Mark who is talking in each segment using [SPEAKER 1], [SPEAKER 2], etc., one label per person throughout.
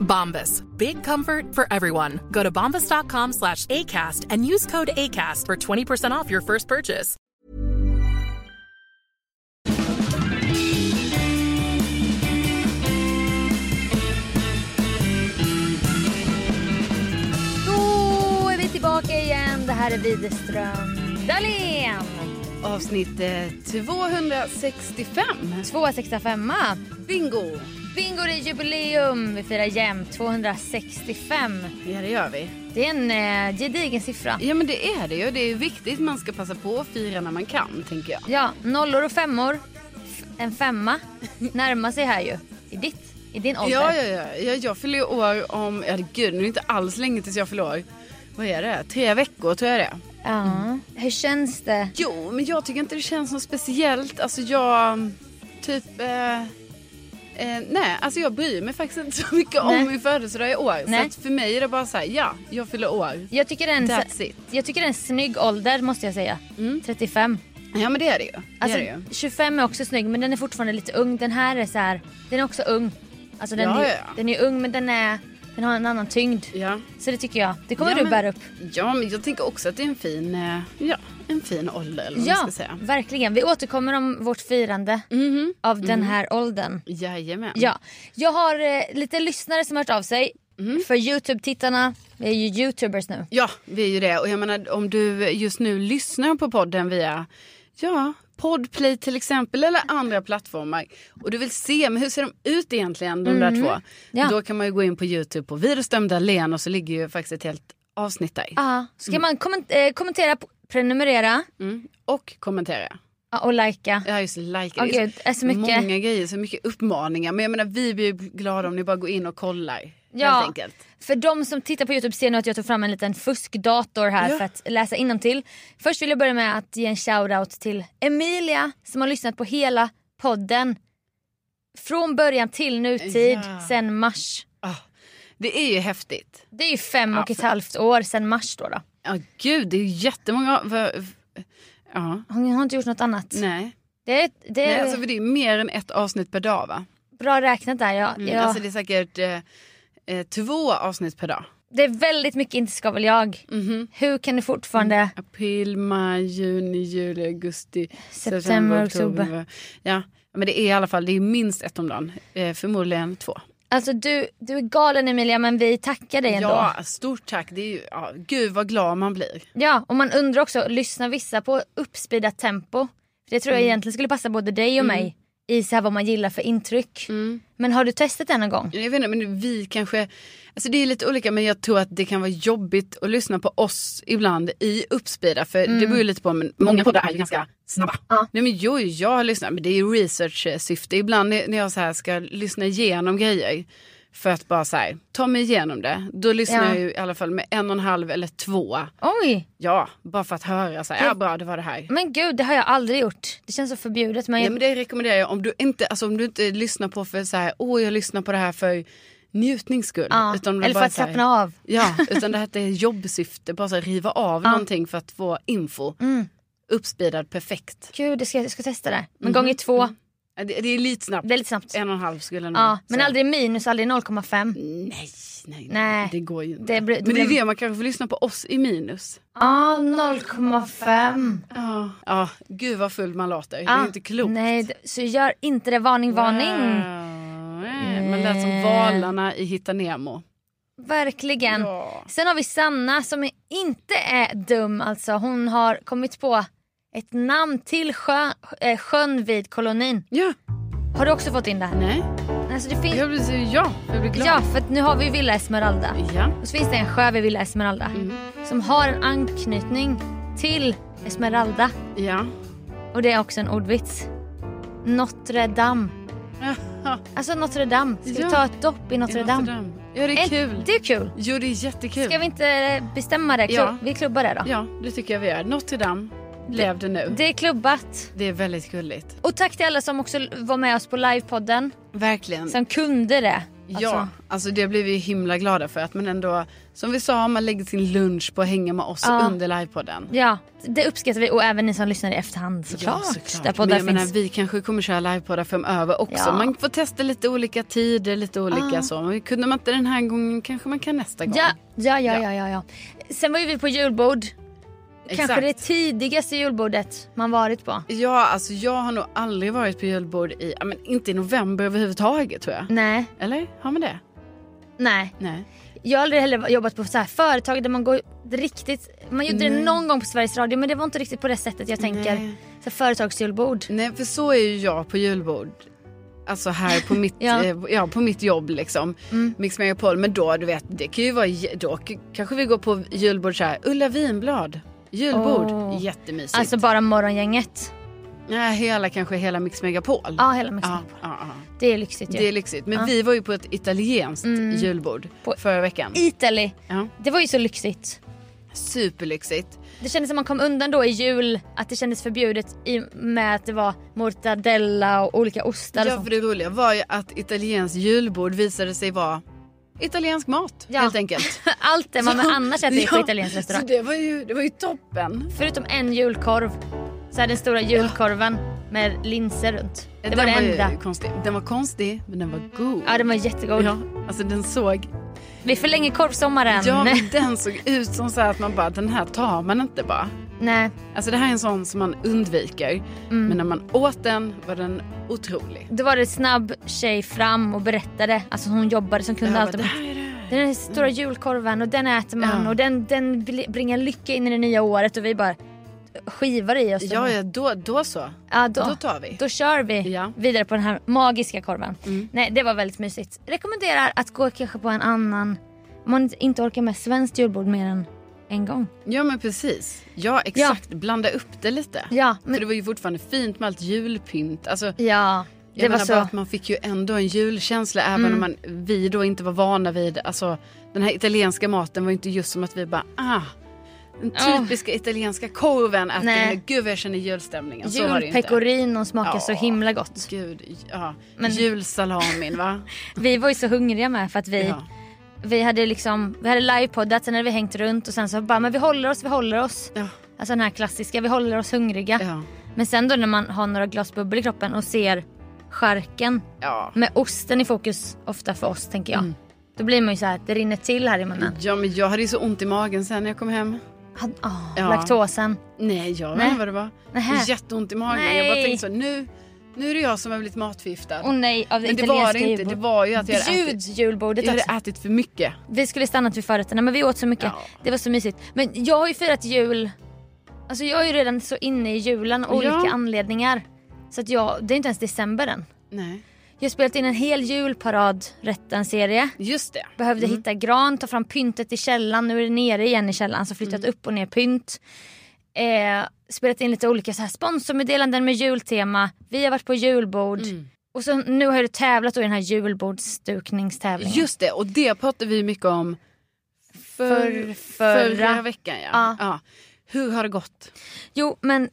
[SPEAKER 1] Bombas. Big comfort for everyone. Go to bombas.com slash ACAST and use code ACAST for 20% off your first purchase.
[SPEAKER 2] Då är vi tillbaka igen. Det här är Widerström Dahlén.
[SPEAKER 3] Avsnitt eh, 265.
[SPEAKER 2] 265
[SPEAKER 3] Bingo!
[SPEAKER 2] Bingo det är jubileum. Vi firar jämnt 265.
[SPEAKER 3] Ja, det gör vi.
[SPEAKER 2] Det är en eh, gedigen siffra.
[SPEAKER 3] Ja, men det är det ju. Det är viktigt. Man ska passa på att fira när man kan, tänker jag.
[SPEAKER 2] Ja, nollor och femmor. F- En femma närmar sig här ju. I, ditt, i din ålder.
[SPEAKER 3] Ja, ja, ja. ja jag fyller ju år om... Ja, gud, nu är det inte alls länge tills jag fyller år. Vad är det? Tre veckor, tror jag det är.
[SPEAKER 2] Ja. Hur känns det?
[SPEAKER 3] Jo, men jag tycker inte det känns något speciellt. Alltså, jag... Typ... Eh, eh, nej, alltså jag bryr mig faktiskt inte så mycket
[SPEAKER 2] Nej.
[SPEAKER 3] om min födelsedag i år.
[SPEAKER 2] Nej.
[SPEAKER 3] Så att för mig är det bara så här, ja, jag fyller år.
[SPEAKER 2] Jag tycker, det är en,
[SPEAKER 3] That's it. Mm.
[SPEAKER 2] jag tycker det är en snygg ålder måste jag säga. 35.
[SPEAKER 3] Ja, men det är det ju. Det
[SPEAKER 2] Alltså,
[SPEAKER 3] är det ju.
[SPEAKER 2] 25 är också snygg men den är fortfarande lite ung. Den här är så här, den är också ung. Alltså den,
[SPEAKER 3] Ja,
[SPEAKER 2] är,
[SPEAKER 3] ja, ja.
[SPEAKER 2] den är ung men den, är, den har en annan tyngd.
[SPEAKER 3] Ja.
[SPEAKER 2] Så det tycker jag. Det kommer
[SPEAKER 3] Ja,
[SPEAKER 2] du
[SPEAKER 3] men-
[SPEAKER 2] bära upp.
[SPEAKER 3] Ja, men jag tänker också att det är en fin, eh, ja, en fin ålder. Eller vad man
[SPEAKER 2] Ja,
[SPEAKER 3] ska säga. Mhm.
[SPEAKER 2] verkligen. Vi återkommer om vårt firande av den här åldern.
[SPEAKER 3] Jajamän.
[SPEAKER 2] Ja. Jag har eh, lite lyssnare som har hört av sig. För Youtube-tittarna, vi är ju Youtubers nu.
[SPEAKER 3] Mhm. ja, vi är ju det. Och jag menar, om du just nu lyssnar på podden via ja, Podplay till exempel eller andra plattformar och du vill se men hur ser de ut egentligen, de där två.
[SPEAKER 2] Mm. Ja.
[SPEAKER 3] Då kan man ju gå in på Youtube på Widerström Dahlén och så ligger ju faktiskt ett helt avsnitt där.
[SPEAKER 2] Ja. Ska man komment- eh, kommentera, p- prenumerera
[SPEAKER 3] Mm. Och kommentera.
[SPEAKER 2] ja, och likea.
[SPEAKER 3] Ja just like
[SPEAKER 2] Åh, gud, det är så mycket.
[SPEAKER 3] Många grejer, så mycket uppmaningar. Men jag menar vi blir ju glada om ni bara går in och kollar.
[SPEAKER 2] Ja.
[SPEAKER 3] Helt enkelt.
[SPEAKER 2] För de som tittar på Youtube ser nu att jag tog fram en liten fuskdator här
[SPEAKER 3] Ja.
[SPEAKER 2] för att läsa innantill. Först vill jag börja med att ge en shoutout till Emilia som har lyssnat på hela podden. Från början till nutid,
[SPEAKER 3] Ja.
[SPEAKER 2] sen mars.
[SPEAKER 3] Ah, det är ju häftigt.
[SPEAKER 2] Det är ju fem
[SPEAKER 3] Ja,
[SPEAKER 2] och ett
[SPEAKER 3] för-
[SPEAKER 2] halvt år sen mars då. då.
[SPEAKER 3] Ja, gud, det är ju jättemånga... va- v- Ja,
[SPEAKER 2] Hon har inte gjort något annat.
[SPEAKER 3] nej.
[SPEAKER 2] Det, är- det är
[SPEAKER 3] nej alltså, för det är mer än ett avsnitt per dag, va?
[SPEAKER 2] bra räknat där. Ja,
[SPEAKER 3] Mm,
[SPEAKER 2] ja.
[SPEAKER 3] Alltså, det är säkert eh, eh, två avsnitt per dag.
[SPEAKER 2] det är väldigt mycket Inte ska väl jag.
[SPEAKER 3] Mhm.
[SPEAKER 2] Hur kan du fortfarande...
[SPEAKER 3] Mm, April, maj, juni, juli, augusti,
[SPEAKER 2] September, oktober.
[SPEAKER 3] Ja, men det är i alla fall det är minst ett om dagen. Eh, förmodligen två.
[SPEAKER 2] Alltså du, du är galen Emilia men vi tackar dig ändå.
[SPEAKER 3] Ja, stort tack. Det är ju, ja, gud vad glad man blir.
[SPEAKER 2] Ja, och man
[SPEAKER 3] Mm.
[SPEAKER 2] undrar också, lyssnar vissa på uppspeedat tempo? För Det tror jag egentligen skulle passa både dig och mig i så här vad man gillar för intryck.
[SPEAKER 3] Mm.
[SPEAKER 2] Men har du testat det någon gång?
[SPEAKER 3] Jag vet inte, men vi kanske... Alltså det är lite olika, men jag tror att det kan vara jobbigt att lyssna på oss ibland i uppspida. För det beror ju lite på, men Mm. många poddar är ju ganska snabba. Nej men jo, jag har lyssnat, men det är ju research-syfte. Ibland när när jag så här ska lyssna igenom grejer för att bara så här, ta mig igenom det. Då lyssnar
[SPEAKER 2] Ja.
[SPEAKER 3] jag ju i alla fall med en och en halv eller två.
[SPEAKER 2] Oj,
[SPEAKER 3] Ja, bara för att höra så här, ja bra det var det här.
[SPEAKER 2] men gud det har jag aldrig gjort. Det känns så förbjudet. Men
[SPEAKER 3] Nej,
[SPEAKER 2] jag,
[SPEAKER 3] men det rekommenderar jag om du inte, alltså, om du inte lyssnar på för så här, åh jag lyssnar på det här för njutnings skull.
[SPEAKER 2] ja.
[SPEAKER 3] Utan om du
[SPEAKER 2] Eller
[SPEAKER 3] bara
[SPEAKER 2] för att
[SPEAKER 3] så här-
[SPEAKER 2] slappna av.
[SPEAKER 3] Ja, utan det här är jobbsyfte, bara så här, riva av någonting för att få info. Mm. Uppspeedad perfekt.
[SPEAKER 2] Gud, det ska, jag ska testa det.
[SPEAKER 3] Mhm.
[SPEAKER 2] Men gånger två,
[SPEAKER 3] Ja, Det, det är lite snabbt.
[SPEAKER 2] det är lite snabbt.
[SPEAKER 3] En och en halv skulle jag nog
[SPEAKER 2] Ja, men
[SPEAKER 3] säga.
[SPEAKER 2] aldrig minus, aldrig 0,5.
[SPEAKER 3] Mm. Nej, nej,
[SPEAKER 2] Nej.
[SPEAKER 3] nej. Det går ju inte.
[SPEAKER 2] Det blir- det
[SPEAKER 3] men det är
[SPEAKER 2] blir-
[SPEAKER 3] det man kanske får lyssna på oss i minus.
[SPEAKER 2] Ja, 0,5.
[SPEAKER 3] Ja, ja gud vad full man låter. Det
[SPEAKER 2] Ja.
[SPEAKER 3] är inte klokt.
[SPEAKER 2] Nej, d- så gör inte det. Varning, varning.
[SPEAKER 3] Wow. Nej, Man lät
[SPEAKER 2] Eh.
[SPEAKER 3] som valarna i Hitta Nemo.
[SPEAKER 2] Verkligen.
[SPEAKER 3] Ja.
[SPEAKER 2] Sen har vi Sanna som är- inte är dum alltså. Hon har kommit på ett namn till sjön, eh, sjön vid kolonin.
[SPEAKER 3] Ja,
[SPEAKER 2] Har du också fått in det här?
[SPEAKER 3] nej.
[SPEAKER 2] Alltså, det finns...
[SPEAKER 3] Jag blir, så- ja, jag blir glad.
[SPEAKER 2] Ja, för att nu har vi Villa Esmeralda.
[SPEAKER 3] ja.
[SPEAKER 2] Och så finns det en sjö vid Villa Esmeralda
[SPEAKER 3] Mm.
[SPEAKER 2] som har en anknytning till Esmeralda.
[SPEAKER 3] ja.
[SPEAKER 2] Och det är också en ordvits. Notre Dame. Alltså Notre Dame. Ska
[SPEAKER 3] Ja.
[SPEAKER 2] vi ta ett dopp i Notre Dame?
[SPEAKER 3] Ja, det är
[SPEAKER 2] Eh,
[SPEAKER 3] kul.
[SPEAKER 2] Det är kul.
[SPEAKER 3] Jo, det är jättekul.
[SPEAKER 2] Ska vi inte eh, bestämma det? Klu-
[SPEAKER 3] Ja.
[SPEAKER 2] Vi klubbar det då.
[SPEAKER 3] Ja, det tycker jag vi gör. Notre Dame, lev det nu.
[SPEAKER 2] Det är klubbat.
[SPEAKER 3] Det är väldigt gulligt.
[SPEAKER 2] Och tack till alla som också var med oss på livepodden.
[SPEAKER 3] Verkligen.
[SPEAKER 2] Som kunde det.
[SPEAKER 3] Ja, alltså det blev vi ju himla glada för att man ändå, som vi sa, man lägger sin lunch på att hänga med oss
[SPEAKER 2] Ja.
[SPEAKER 3] under livepodden.
[SPEAKER 2] ja. Det uppskattar vi och även ni som lyssnar i efterhand såklart. Där
[SPEAKER 3] Men
[SPEAKER 2] poddar
[SPEAKER 3] jag
[SPEAKER 2] finns.
[SPEAKER 3] menar, vi kanske kommer köra livepoddar framöver också.
[SPEAKER 2] Ja. Ah.
[SPEAKER 3] Man får testa lite olika tider, lite olika så. Men kunde man inte den här gången kanske man kan nästa gång.
[SPEAKER 2] Ja, ja, ja, ja, ja, ja. Sen var ju vi på julbord. Kanske
[SPEAKER 3] Exakt.
[SPEAKER 2] det tidigaste julbordet man varit på.
[SPEAKER 3] Ja, alltså jag har nog aldrig varit på julbord i, ja, men inte i november överhuvudtaget tror jag.
[SPEAKER 2] Nej,
[SPEAKER 3] Eller? Har man det?
[SPEAKER 2] nej.
[SPEAKER 3] Nej.
[SPEAKER 2] Jag har aldrig heller jobbat på så här företag där man går riktigt... Man gjorde det någon gång på Sveriges Radio men det var inte riktigt på det sättet jag tänker.
[SPEAKER 3] Nej.
[SPEAKER 2] Så här företagsjulbord.
[SPEAKER 3] Nej, för så är ju jag på julbord. Alltså här på mitt,
[SPEAKER 2] Ja. Mm.
[SPEAKER 3] Eh, ja, på mitt jobb liksom. Mix Megapol. Men då, du vet, det kan ju vara, j- då k- kanske vi går på julbord så här, Ulla Vinblad. Julbord,
[SPEAKER 2] Åh.
[SPEAKER 3] jättemysigt.
[SPEAKER 2] Alltså bara morgongänget.
[SPEAKER 3] Nej, hela kanske hela Mix Megapol.
[SPEAKER 2] Ja, hela Mix
[SPEAKER 3] Ja,
[SPEAKER 2] Megapol.
[SPEAKER 3] ja, ja.
[SPEAKER 2] Det är lyxigt ju.
[SPEAKER 3] Det är lyxigt. Men vi var ju på ett italienskt julbord
[SPEAKER 2] Mm. På-
[SPEAKER 3] förra veckan.
[SPEAKER 2] Italy.
[SPEAKER 3] Ja.
[SPEAKER 2] Det var ju så lyxigt.
[SPEAKER 3] Superlyxigt.
[SPEAKER 2] Det kändes som man kom undan då i jul att det kändes förbjudet i, med att det var mortadella och olika ostar och
[SPEAKER 3] Ja,
[SPEAKER 2] sånt.
[SPEAKER 3] för det roliga var ju att italienskt julbord visade sig vara italiensk mat
[SPEAKER 2] Ja.
[SPEAKER 3] helt enkelt.
[SPEAKER 2] Allt det man
[SPEAKER 3] Så-
[SPEAKER 2] annars äter på italiensk
[SPEAKER 3] Så
[SPEAKER 2] restaurang.
[SPEAKER 3] det var ju, det var ju toppen.
[SPEAKER 2] Förutom en julkorv. Så här den stora julkorven med linser runt. Det var det
[SPEAKER 3] den
[SPEAKER 2] enda.
[SPEAKER 3] Ju konstig. Den var konstig, men den var god.
[SPEAKER 2] Ja den var jättegod.
[SPEAKER 3] Ja, alltså den såg...
[SPEAKER 2] Vi förlänger korvsommaren.
[SPEAKER 3] Ja, men den såg ut som så här att man bara, den här tar man inte bara.
[SPEAKER 2] Nej.
[SPEAKER 3] Alltså det här är en sån som man undviker.
[SPEAKER 2] Mm.
[SPEAKER 3] Men när man åt den var den otrolig.
[SPEAKER 2] Då var det snabb tjej fram och berättade. Alltså hon jobbade som kunde
[SPEAKER 3] Jag
[SPEAKER 2] allt.
[SPEAKER 3] bara,
[SPEAKER 2] om-
[SPEAKER 3] det här är det. Mm.
[SPEAKER 2] Den här stora julkorven och den äter man
[SPEAKER 3] Ja.
[SPEAKER 2] och den, den bli- bringar lycka in i det nya året och vi bara skivar i oss den.
[SPEAKER 3] Ja, ja, då, då så.
[SPEAKER 2] Ja, då,
[SPEAKER 3] Då tar vi.
[SPEAKER 2] Då kör vi
[SPEAKER 3] Ja. Mm.
[SPEAKER 2] vidare på den här magiska korven. Nej, det var väldigt mysigt. Rekommenderar att gå kanske på en annan, om man inte orkar med svenskt julbord mer än en gång.
[SPEAKER 3] Ja, men precis. Ja, exakt. Blanda upp det lite.
[SPEAKER 2] Ja,
[SPEAKER 3] För det
[SPEAKER 2] men,
[SPEAKER 3] var ju fortfarande fint med allt julpynt. Alltså,
[SPEAKER 2] ja det
[SPEAKER 3] Jag
[SPEAKER 2] var
[SPEAKER 3] menar
[SPEAKER 2] så. Mm.
[SPEAKER 3] bara att man fick ju ändå en julkänsla även om man, vi då inte var vana vid, alltså den här italienska maten var ju inte just som att vi bara ah, den
[SPEAKER 2] Åh.
[SPEAKER 3] typiska italienska korven äter
[SPEAKER 2] Nej.
[SPEAKER 3] vi nu. gud vad jag känner julstämningen. så var det ju inte.
[SPEAKER 2] Julpecorino smakar så
[SPEAKER 3] Ja.
[SPEAKER 2] himla gott.
[SPEAKER 3] Gud, ja.
[SPEAKER 2] Men-
[SPEAKER 3] Julsalamin va?
[SPEAKER 2] Vi var ju så hungriga med för att vi,
[SPEAKER 3] Ja.
[SPEAKER 2] vi hade liksom, vi hade livepoddat, sen hade vi hängt runt och sen så bara men vi håller oss, vi håller oss.
[SPEAKER 3] Ja.
[SPEAKER 2] Alltså den här klassiska, vi håller oss hungriga.
[SPEAKER 3] Ja.
[SPEAKER 2] Men sen då när man har några glas bubbel i kroppen och ser skärken
[SPEAKER 3] Ja. Mm.
[SPEAKER 2] med osten i fokus ofta för oss tänker jag. Då blir man ju så här, det rinner till här i munnen.
[SPEAKER 3] ja men jag hade ju så ont i magen sen när jag kom hem.
[SPEAKER 2] Han- ah,
[SPEAKER 3] Ja.
[SPEAKER 2] Laktosen.
[SPEAKER 3] Nej jag vet
[SPEAKER 2] Nej.
[SPEAKER 3] inte vad det var.
[SPEAKER 2] Nähä.
[SPEAKER 3] Jätteont i magen. Jag bara
[SPEAKER 2] Nej.
[SPEAKER 3] tänkte så nu, nu är det jag som har blivit matförgiftad.
[SPEAKER 2] Åh nej, av det
[SPEAKER 3] men det var
[SPEAKER 2] italienska
[SPEAKER 3] det inte, det var ju att jag hade,
[SPEAKER 2] Bjud
[SPEAKER 3] ätit,
[SPEAKER 2] julbordet
[SPEAKER 3] jag
[SPEAKER 2] också.
[SPEAKER 3] hade ätit för mycket.
[SPEAKER 2] Vi skulle stannat vid förrätterna men vi åt så mycket.
[SPEAKER 3] Ja.
[SPEAKER 2] Det var så mysigt. Men jag har ju firat jul, alltså jag är ju redan så inne i julen av olika
[SPEAKER 3] Ja.
[SPEAKER 2] anledningar. Så att jag, det är inte ens december än.
[SPEAKER 3] Nej.
[SPEAKER 2] Jag har spelat in en hel julparad serie
[SPEAKER 3] Just det.
[SPEAKER 2] Behövde hitta gran, ta fram pyntet i källan. Nu är det nere igen i källan så flyttat
[SPEAKER 3] Mm.
[SPEAKER 2] upp och ner pynt. Eh, spelat in lite olika så här sponsormeddelanden med jultema. Vi har varit på julbord.
[SPEAKER 3] Mm.
[SPEAKER 2] Och så nu har du tävlat då i den här julbordsdukningstävlingen.
[SPEAKER 3] Just det, och det pratade vi mycket om
[SPEAKER 2] För-
[SPEAKER 3] förra.
[SPEAKER 2] förra
[SPEAKER 3] veckan. Ja.
[SPEAKER 2] Ja.
[SPEAKER 3] Ja. Hur har det gått?
[SPEAKER 2] Jo men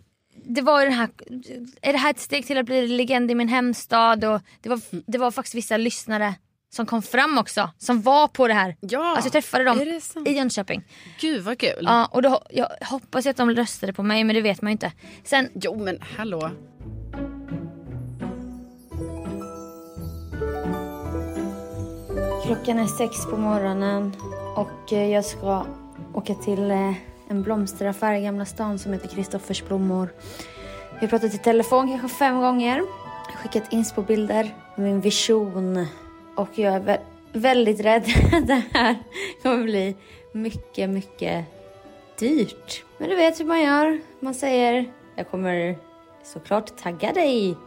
[SPEAKER 2] det var ju den här, är det här ett steg till att bli legend i min hemstad? Och det, var,
[SPEAKER 3] Mm.
[SPEAKER 2] det var faktiskt vissa lyssnare som kom fram också, som var på det här.
[SPEAKER 3] Ja,
[SPEAKER 2] alltså jag träffade dem
[SPEAKER 3] är det sant? Mm.
[SPEAKER 2] i Jönköping.
[SPEAKER 3] Gud vad kul.
[SPEAKER 2] Ja, och då, jag hoppas ju att de röstade på mig men det vet man ju inte. Sen,
[SPEAKER 3] Jo men hallå.
[SPEAKER 2] Klockan är sex på morgonen och eh, jag ska åka till eh, en blomsteraffär i Gamla stan som heter Kristoffers blommor. Vi har pratat i telefon kanske fem gånger. Jag har skickat inspobilder med min vision och jag är vä- väldigt rädd att det här kommer bli mycket, mycket dyrt. Men du vet hur man gör. Man säger jag kommer såklart tagga dig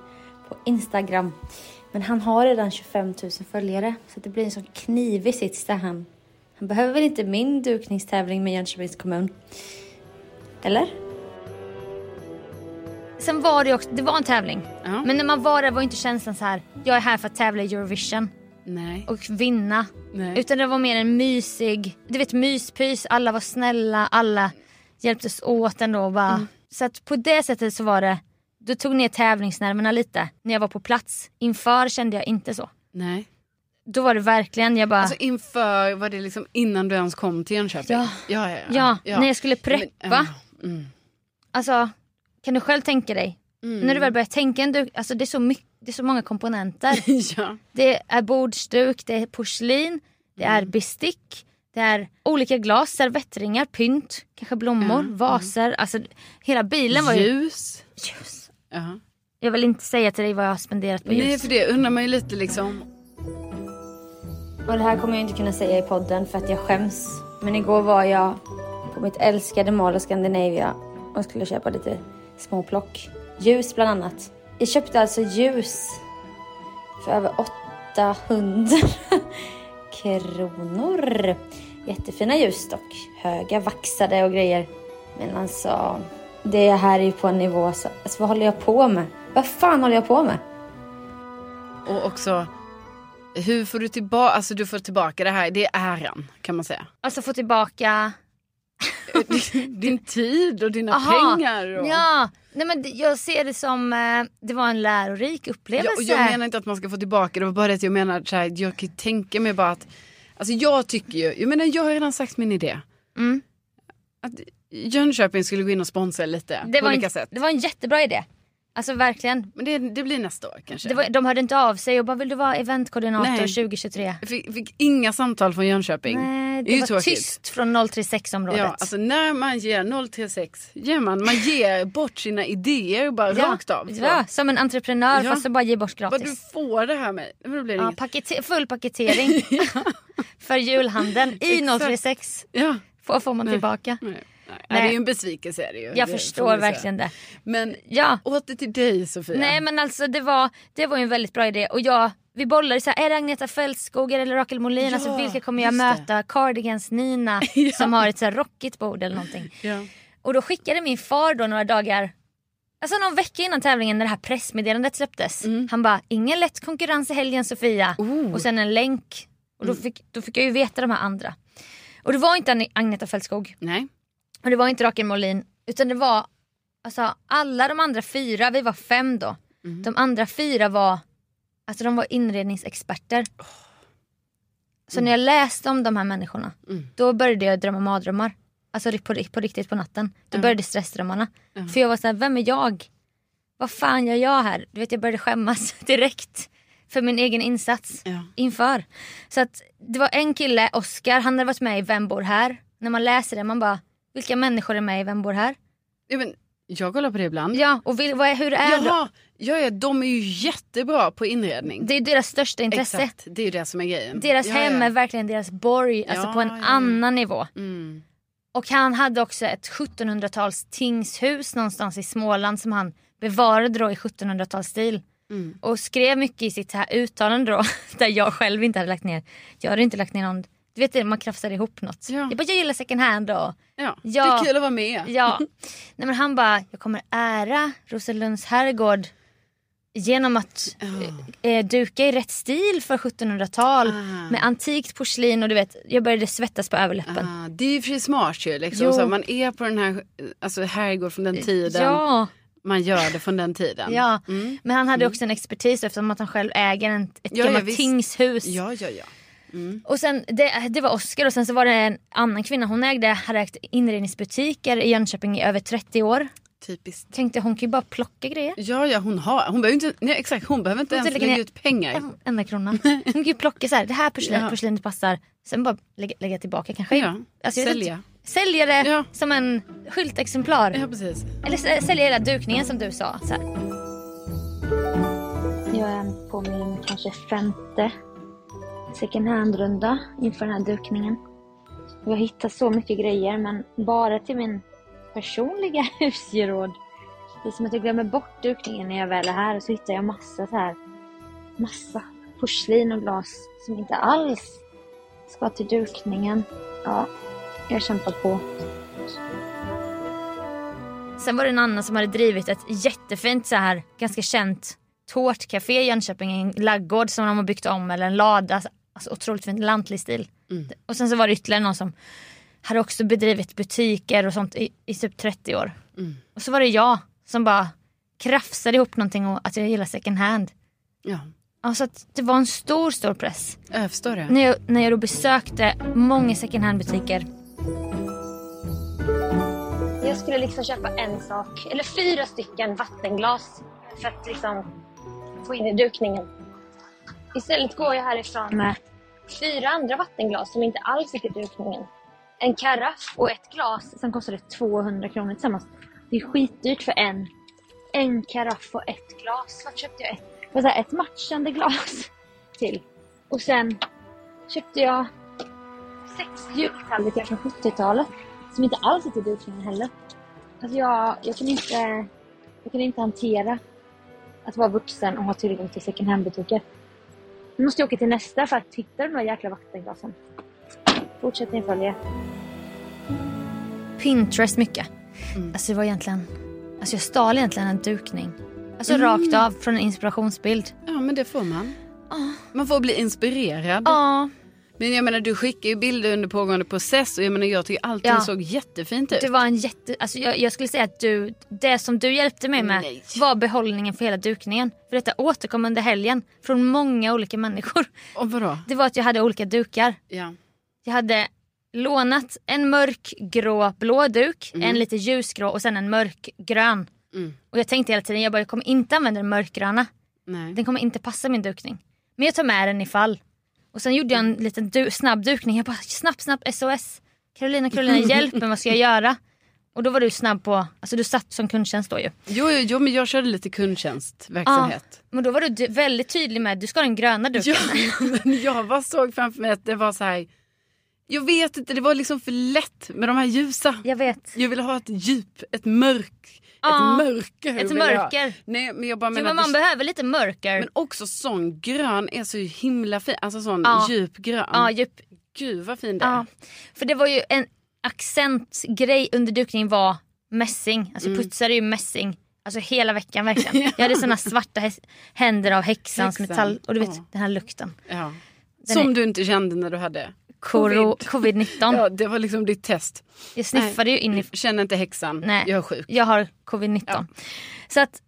[SPEAKER 2] på Instagram. Men han har redan 25 000 följare så det blir en sån knivig sits där han. Han behöver väl inte min dukningstävling med Jönköpings kommun? Eller? Sen var det ju också, det var en tävling.
[SPEAKER 3] Ja.
[SPEAKER 2] Men när man var där var inte känslan så här, jag är här för att tävla i Eurovision
[SPEAKER 3] Nej.
[SPEAKER 2] och vinna.
[SPEAKER 3] Nej.
[SPEAKER 2] Utan det var mer en mysig, du vet myspys, alla var snälla, alla hjälptes åt ändå och bara.
[SPEAKER 3] Mm.
[SPEAKER 2] Så att på det sättet så var det, du tog ner tävlingsnerverna lite när jag var på plats. Inför kände jag inte så.
[SPEAKER 3] Nej.
[SPEAKER 2] Då var det verkligen, jag bara,
[SPEAKER 3] Alltså inför, var det liksom innan du ens kom till Jönköping?
[SPEAKER 2] Ja.
[SPEAKER 3] ja, ja,
[SPEAKER 2] ja, när jag skulle
[SPEAKER 3] Men,
[SPEAKER 2] preppa.
[SPEAKER 3] ja. Mm.
[SPEAKER 2] Alltså, kan du själv tänka dig? När
[SPEAKER 3] Mm.
[SPEAKER 2] du väl börjar tänka, en duk, alltså det är så mycket, det är så många komponenter.
[SPEAKER 3] ja.
[SPEAKER 2] Det är bordsduk, det är porslin, det är
[SPEAKER 3] Mm.
[SPEAKER 2] bestick, det är olika glas, servettringar, pynt, kanske blommor, vaser. Alltså hela bilen var ju...
[SPEAKER 3] mm. Ljus.
[SPEAKER 2] Ljus.
[SPEAKER 3] Ja.
[SPEAKER 2] Jag vill inte säga till dig vad jag har spenderat på ljus.
[SPEAKER 3] Nej för det undrar man ju lite liksom.
[SPEAKER 2] Och det här kommer jag inte kunna säga i podden för att jag skäms. Men igår var jag på mitt älskade Mall of Scandinavia och skulle köpa lite småplock. Ljus bland annat. Jag köpte alltså ljus för över 800 kronor. Jättefina ljus dock. Höga, vaxade och grejer. Men alltså, det här är ju på en nivå så... Alltså vad håller jag på med? Vad fan håller jag på med?
[SPEAKER 3] Och också hur får du tillbaka, alltså du får tillbaka det här, det är äran kan man säga.
[SPEAKER 2] Alltså få tillbaka
[SPEAKER 3] Din, din tid och dina
[SPEAKER 2] Aha.
[SPEAKER 3] pengar. Och...
[SPEAKER 2] Ja, nej men det- jag ser det som, eh, det var en lärorik upplevelse.
[SPEAKER 3] Ja, och jag menar inte att man ska få tillbaka det, det var bara det att jag menar så här, jag kan ju tänka mig bara att, alltså jag tycker ju, jag menar jag har redan sagt min idé.
[SPEAKER 2] Mm.
[SPEAKER 3] Att Jönköping skulle gå in och sponsra lite
[SPEAKER 2] det,
[SPEAKER 3] på
[SPEAKER 2] var
[SPEAKER 3] olika
[SPEAKER 2] en,
[SPEAKER 3] sätt.
[SPEAKER 2] det var en jättebra idé. Alltså verkligen.
[SPEAKER 3] Men det, det blir nästa år kanske.
[SPEAKER 2] Det var, de hörde inte av sig och bara vill du vara eventkoordinator
[SPEAKER 3] Nej.
[SPEAKER 2] 2023?
[SPEAKER 3] Jag fick, fick inga samtal från Jönköping.
[SPEAKER 2] Nej,
[SPEAKER 3] är
[SPEAKER 2] det
[SPEAKER 3] ju
[SPEAKER 2] var
[SPEAKER 3] tråkigt.
[SPEAKER 2] tyst från 036-området.
[SPEAKER 3] Ja, alltså när man ger 036, ger man, man ger bort sina idéer bara
[SPEAKER 2] Ja,
[SPEAKER 3] rakt av. Så.
[SPEAKER 2] Ja, som en entreprenör
[SPEAKER 3] Ja.
[SPEAKER 2] fast så bara ge bort gratis.
[SPEAKER 3] Vad du får det här med. Men då blir det
[SPEAKER 2] ja,
[SPEAKER 3] inget.
[SPEAKER 2] pakete- full paketering för julhandeln i
[SPEAKER 3] Exakt.
[SPEAKER 2] 036.
[SPEAKER 3] Ja.
[SPEAKER 2] Vad får man tillbaka?
[SPEAKER 3] Nej. Nej.
[SPEAKER 2] Nej.
[SPEAKER 3] Det är ju en besvikelse. Är det ju.
[SPEAKER 2] Jag
[SPEAKER 3] det, får
[SPEAKER 2] förstår
[SPEAKER 3] man säga.
[SPEAKER 2] verkligen det.
[SPEAKER 3] Men
[SPEAKER 2] Ja.
[SPEAKER 3] åter till dig Sofia.
[SPEAKER 2] Nej men alltså det var, det var ju en väldigt bra idé och jag, vi bollade så här, är det Agneta Fältskoger eller Rakel Molin?
[SPEAKER 3] Ja,
[SPEAKER 2] alltså vilka kommer jag
[SPEAKER 3] just
[SPEAKER 2] möta? Cardigans Nina som har ett så här rockigt bord eller någonting.
[SPEAKER 3] Ja.
[SPEAKER 2] Och då skickade min far då några dagar, alltså någon vecka innan tävlingen när det här pressmeddelandet släpptes. Han bara, ingen lätt konkurrens i helgen Sofia. Och sen en länk. Och då fick, då fick jag ju veta de här andra. Och det var inte Agne- Agneta Fältskog
[SPEAKER 3] Nej.
[SPEAKER 2] och det var inte Rakel Molin utan det var alltså, alla de andra fyra, vi var fem då. De andra fyra var alltså de var inredningsexperter. Så när jag läste om de här människorna
[SPEAKER 3] Mm.
[SPEAKER 2] då började jag drömma mardrömmar. Alltså på, på riktigt på natten.
[SPEAKER 3] Mm.
[SPEAKER 2] Då började stressdrömmarna. För jag var såhär, vem är jag? Vad fan gör jag här? Du vet jag började skämmas direkt. För min egen insats
[SPEAKER 3] Ja.
[SPEAKER 2] inför. Så att det var en kille, Oscar, han hade varit med i Vem bor här? När man läser det man bara, vilka människor är med i Vem bor här?
[SPEAKER 3] Ja, men, jag kollar på det ibland.
[SPEAKER 2] Ja, och vil, vad är, hur är det?
[SPEAKER 3] Jaha, ja, ja, de är ju jättebra på inredning.
[SPEAKER 2] Det är deras största intresse.
[SPEAKER 3] Exakt, det är ju det som är grejen.
[SPEAKER 2] Deras
[SPEAKER 3] ja,
[SPEAKER 2] hem
[SPEAKER 3] ja.
[SPEAKER 2] är verkligen deras borg, alltså
[SPEAKER 3] Ja,
[SPEAKER 2] på en
[SPEAKER 3] ja, ja.
[SPEAKER 2] annan nivå.
[SPEAKER 3] Mm.
[SPEAKER 2] Och han hade också ett 1700-tals tingshus någonstans i Småland som han bevarade då i 1700-talsstil.
[SPEAKER 3] Mm.
[SPEAKER 2] Och skrev mycket i sitt här uttalande då, där jag själv inte hade lagt ner. Jag hade inte lagt ner någon, du vet det, man krafsar ihop något.
[SPEAKER 3] Ja.
[SPEAKER 2] Jag bara, jag gillar second hand då.
[SPEAKER 3] Ja.
[SPEAKER 2] Ja.
[SPEAKER 3] Det är kul att vara med.
[SPEAKER 2] Ja. Nej, men han bara, jag kommer ära Roselunds herrgård genom att eh, duka i rätt stil för 1700-tal
[SPEAKER 3] Ah.
[SPEAKER 2] med antikt porslin och du vet, jag började svettas på överläppen.
[SPEAKER 3] Ah, det är ju för sig smart ju. Liksom.
[SPEAKER 2] Jo.
[SPEAKER 3] Så man är på den här, alltså herrgård från den tiden.
[SPEAKER 2] Ja,
[SPEAKER 3] Man gör det från den tiden.
[SPEAKER 2] ja.
[SPEAKER 3] Mm.
[SPEAKER 2] men han hade också en expertis eftersom att han själv äger en, ett
[SPEAKER 3] Ja, ja,
[SPEAKER 2] gammalt
[SPEAKER 3] visst.
[SPEAKER 2] tingshus.
[SPEAKER 3] Ja, ja, ja. Mm.
[SPEAKER 2] Och sen, det, det var Oscar och sen så var det en annan kvinna, hon ägde, hade ägt inredningsbutiker i Jönköping i över 30 år.
[SPEAKER 3] Typiskt.
[SPEAKER 2] Tänkte hon kan ju bara plocka grejer.
[SPEAKER 3] Ja, ja, hon har. Hon behöver inte, nej, exakt, hon behöver inte
[SPEAKER 2] Hon
[SPEAKER 3] ens
[SPEAKER 2] lägger
[SPEAKER 3] lägga
[SPEAKER 2] ner-
[SPEAKER 3] ut pengar.
[SPEAKER 2] En enda krona. Hon kan ju plocka så här, det här porslinet,
[SPEAKER 3] Ja.
[SPEAKER 2] porslinet passar. Sen bara lägga, lägga tillbaka kanske.
[SPEAKER 3] Ja,
[SPEAKER 2] Alltså, jag vet
[SPEAKER 3] sälja.
[SPEAKER 2] Sälja det
[SPEAKER 3] Ja.
[SPEAKER 2] som en skyltexemplar.
[SPEAKER 3] Ja, precis.
[SPEAKER 2] Eller sä- sälja hela dukningen som du sa. Så här.
[SPEAKER 4] Jag är på min kanske femte second hand-runda inför den här dukningen. Jag hittar så mycket grejer men bara till min personliga husgeråd. Det är som att jag glömmer bort dukningen när jag väl är här och så hittar jag massa så här, massa porslin och glas som inte alls ska till dukningen. Ja, jag har kämpat på.
[SPEAKER 2] Sen var det en annan som hade drivit ett jättefint så här, ganska känt tårtcafé i Jönköping. En laggård som de har byggt om eller en lada. Alltså otroligt fint, lantlig stil.
[SPEAKER 3] Mm.
[SPEAKER 2] Och sen så var det ytterligare någon som hade också bedrivit butiker och sånt i, i typ 30 år.
[SPEAKER 3] Mm.
[SPEAKER 2] Och så var det jag som bara krafsade ihop någonting och att jag gillar second hand.
[SPEAKER 3] Ja,
[SPEAKER 2] Alltså att det var en stor, stor press.
[SPEAKER 3] jag förstår det.
[SPEAKER 2] När jag, när jag då besökte många second hand-butiker.
[SPEAKER 4] Jag skulle liksom köpa en sak, eller fyra stycken vattenglas för att liksom få in i dukningen. Istället går jag härifrån med fyra andra vattenglas som inte alls gick i dukningen. En karaff och ett glas som kostade 200 kronor tillsammans. Det är skitdyrt för en. En karaff och ett glas. Vart köpte jag ett? Det var så här, ett matchande glas till. Och sen köpte jag sex jultallrikar från 70-talet som inte alls sitter i dukningen heller. Alltså jag, jag, kan inte, jag kan inte hantera att vara vuxen och ha tillgång till second hand-butiker. Nu måste jag åka till nästa för att hitta de där jäkla vattenglasen. Fortsättning följer.
[SPEAKER 2] Pinterest mycket.
[SPEAKER 4] Mm.
[SPEAKER 2] Alltså det var egentligen... Alltså jag stal egentligen en dukning. Alltså
[SPEAKER 4] Mm.
[SPEAKER 2] rakt av från en inspirationsbild.
[SPEAKER 3] Ja, men det får man.
[SPEAKER 2] Ah.
[SPEAKER 3] Man får bli inspirerad.
[SPEAKER 2] Ja,
[SPEAKER 3] Men jag menar, du skickar ju bilder under pågående process och jag menar, jag tycker allting
[SPEAKER 2] Ja.
[SPEAKER 3] såg jättefint ut.
[SPEAKER 2] det var en jätte... Alltså jag, jag skulle säga att du... Det som du hjälpte mig med
[SPEAKER 3] Nej.
[SPEAKER 2] var behållningen för hela dukningen. För detta återkom under helgen från många olika människor.
[SPEAKER 3] Och vadå?
[SPEAKER 2] Det var att jag hade olika dukar.
[SPEAKER 3] Ja.
[SPEAKER 2] Jag hade lånat en mörkgrå blå duk, en lite ljusgrå och sen en mörkgrön.
[SPEAKER 3] Mm.
[SPEAKER 2] Och jag tänkte hela tiden, jag bara jag kommer inte använda den mörkgröna.
[SPEAKER 3] Nej.
[SPEAKER 2] Den kommer inte passa min dukning. Men jag tar med den ifall. Och sen gjorde jag
[SPEAKER 3] Mm.
[SPEAKER 2] en liten du- snabb dukning. Jag bara snabbt, snabbt SOS. Carolina, Carolina hjälp mig, vad ska jag göra? Och då var du snabb på, alltså du satt som kundtjänst då ju.
[SPEAKER 3] Jo, jo, jo, men jag körde lite kundtjänstverksamhet.
[SPEAKER 2] Men då var du d- väldigt tydlig med, Ah. du ska ha den gröna duken.
[SPEAKER 3] Ja, men jag bara såg framför mig att det var så här. Jag vet inte, det var liksom för lätt med de här ljusa.
[SPEAKER 2] Jag vet.
[SPEAKER 3] Jag ville ha ett djup, ett mörk.
[SPEAKER 2] Ja,
[SPEAKER 3] ett mörker.
[SPEAKER 2] Ah. ett
[SPEAKER 3] vill jag ha.
[SPEAKER 2] mörker.
[SPEAKER 3] Nej, men jag bara
[SPEAKER 2] Jo,
[SPEAKER 3] menar
[SPEAKER 2] men
[SPEAKER 3] att
[SPEAKER 2] man
[SPEAKER 3] det-
[SPEAKER 2] behöver lite mörker.
[SPEAKER 3] Men också sån grön är så himla fin. Alltså sån
[SPEAKER 2] Ja.
[SPEAKER 3] djup grön.
[SPEAKER 2] ja, djup,
[SPEAKER 3] Gud vad fin det är.
[SPEAKER 2] Ja, för det var ju en accentgrej under dukningen var mässing. Alltså
[SPEAKER 3] Mm.
[SPEAKER 2] putsade ju mässing. Alltså hela veckan verkligen. Jag hade såna svarta häs- händer av häxans
[SPEAKER 3] Häxan,
[SPEAKER 2] metall. Och du vet
[SPEAKER 3] ja.
[SPEAKER 2] den här lukten.
[SPEAKER 3] Ja.
[SPEAKER 2] Den
[SPEAKER 3] Som
[SPEAKER 2] är-
[SPEAKER 3] du inte kände när du hade
[SPEAKER 2] Koro-
[SPEAKER 3] covid.
[SPEAKER 2] Covid-19.
[SPEAKER 3] Ja, det var liksom ditt test.
[SPEAKER 2] Jag sniffade ju in i...
[SPEAKER 3] Känner inte häxan,
[SPEAKER 2] Nej.
[SPEAKER 3] jag är sjuk.
[SPEAKER 2] Jag har covid-19. Så att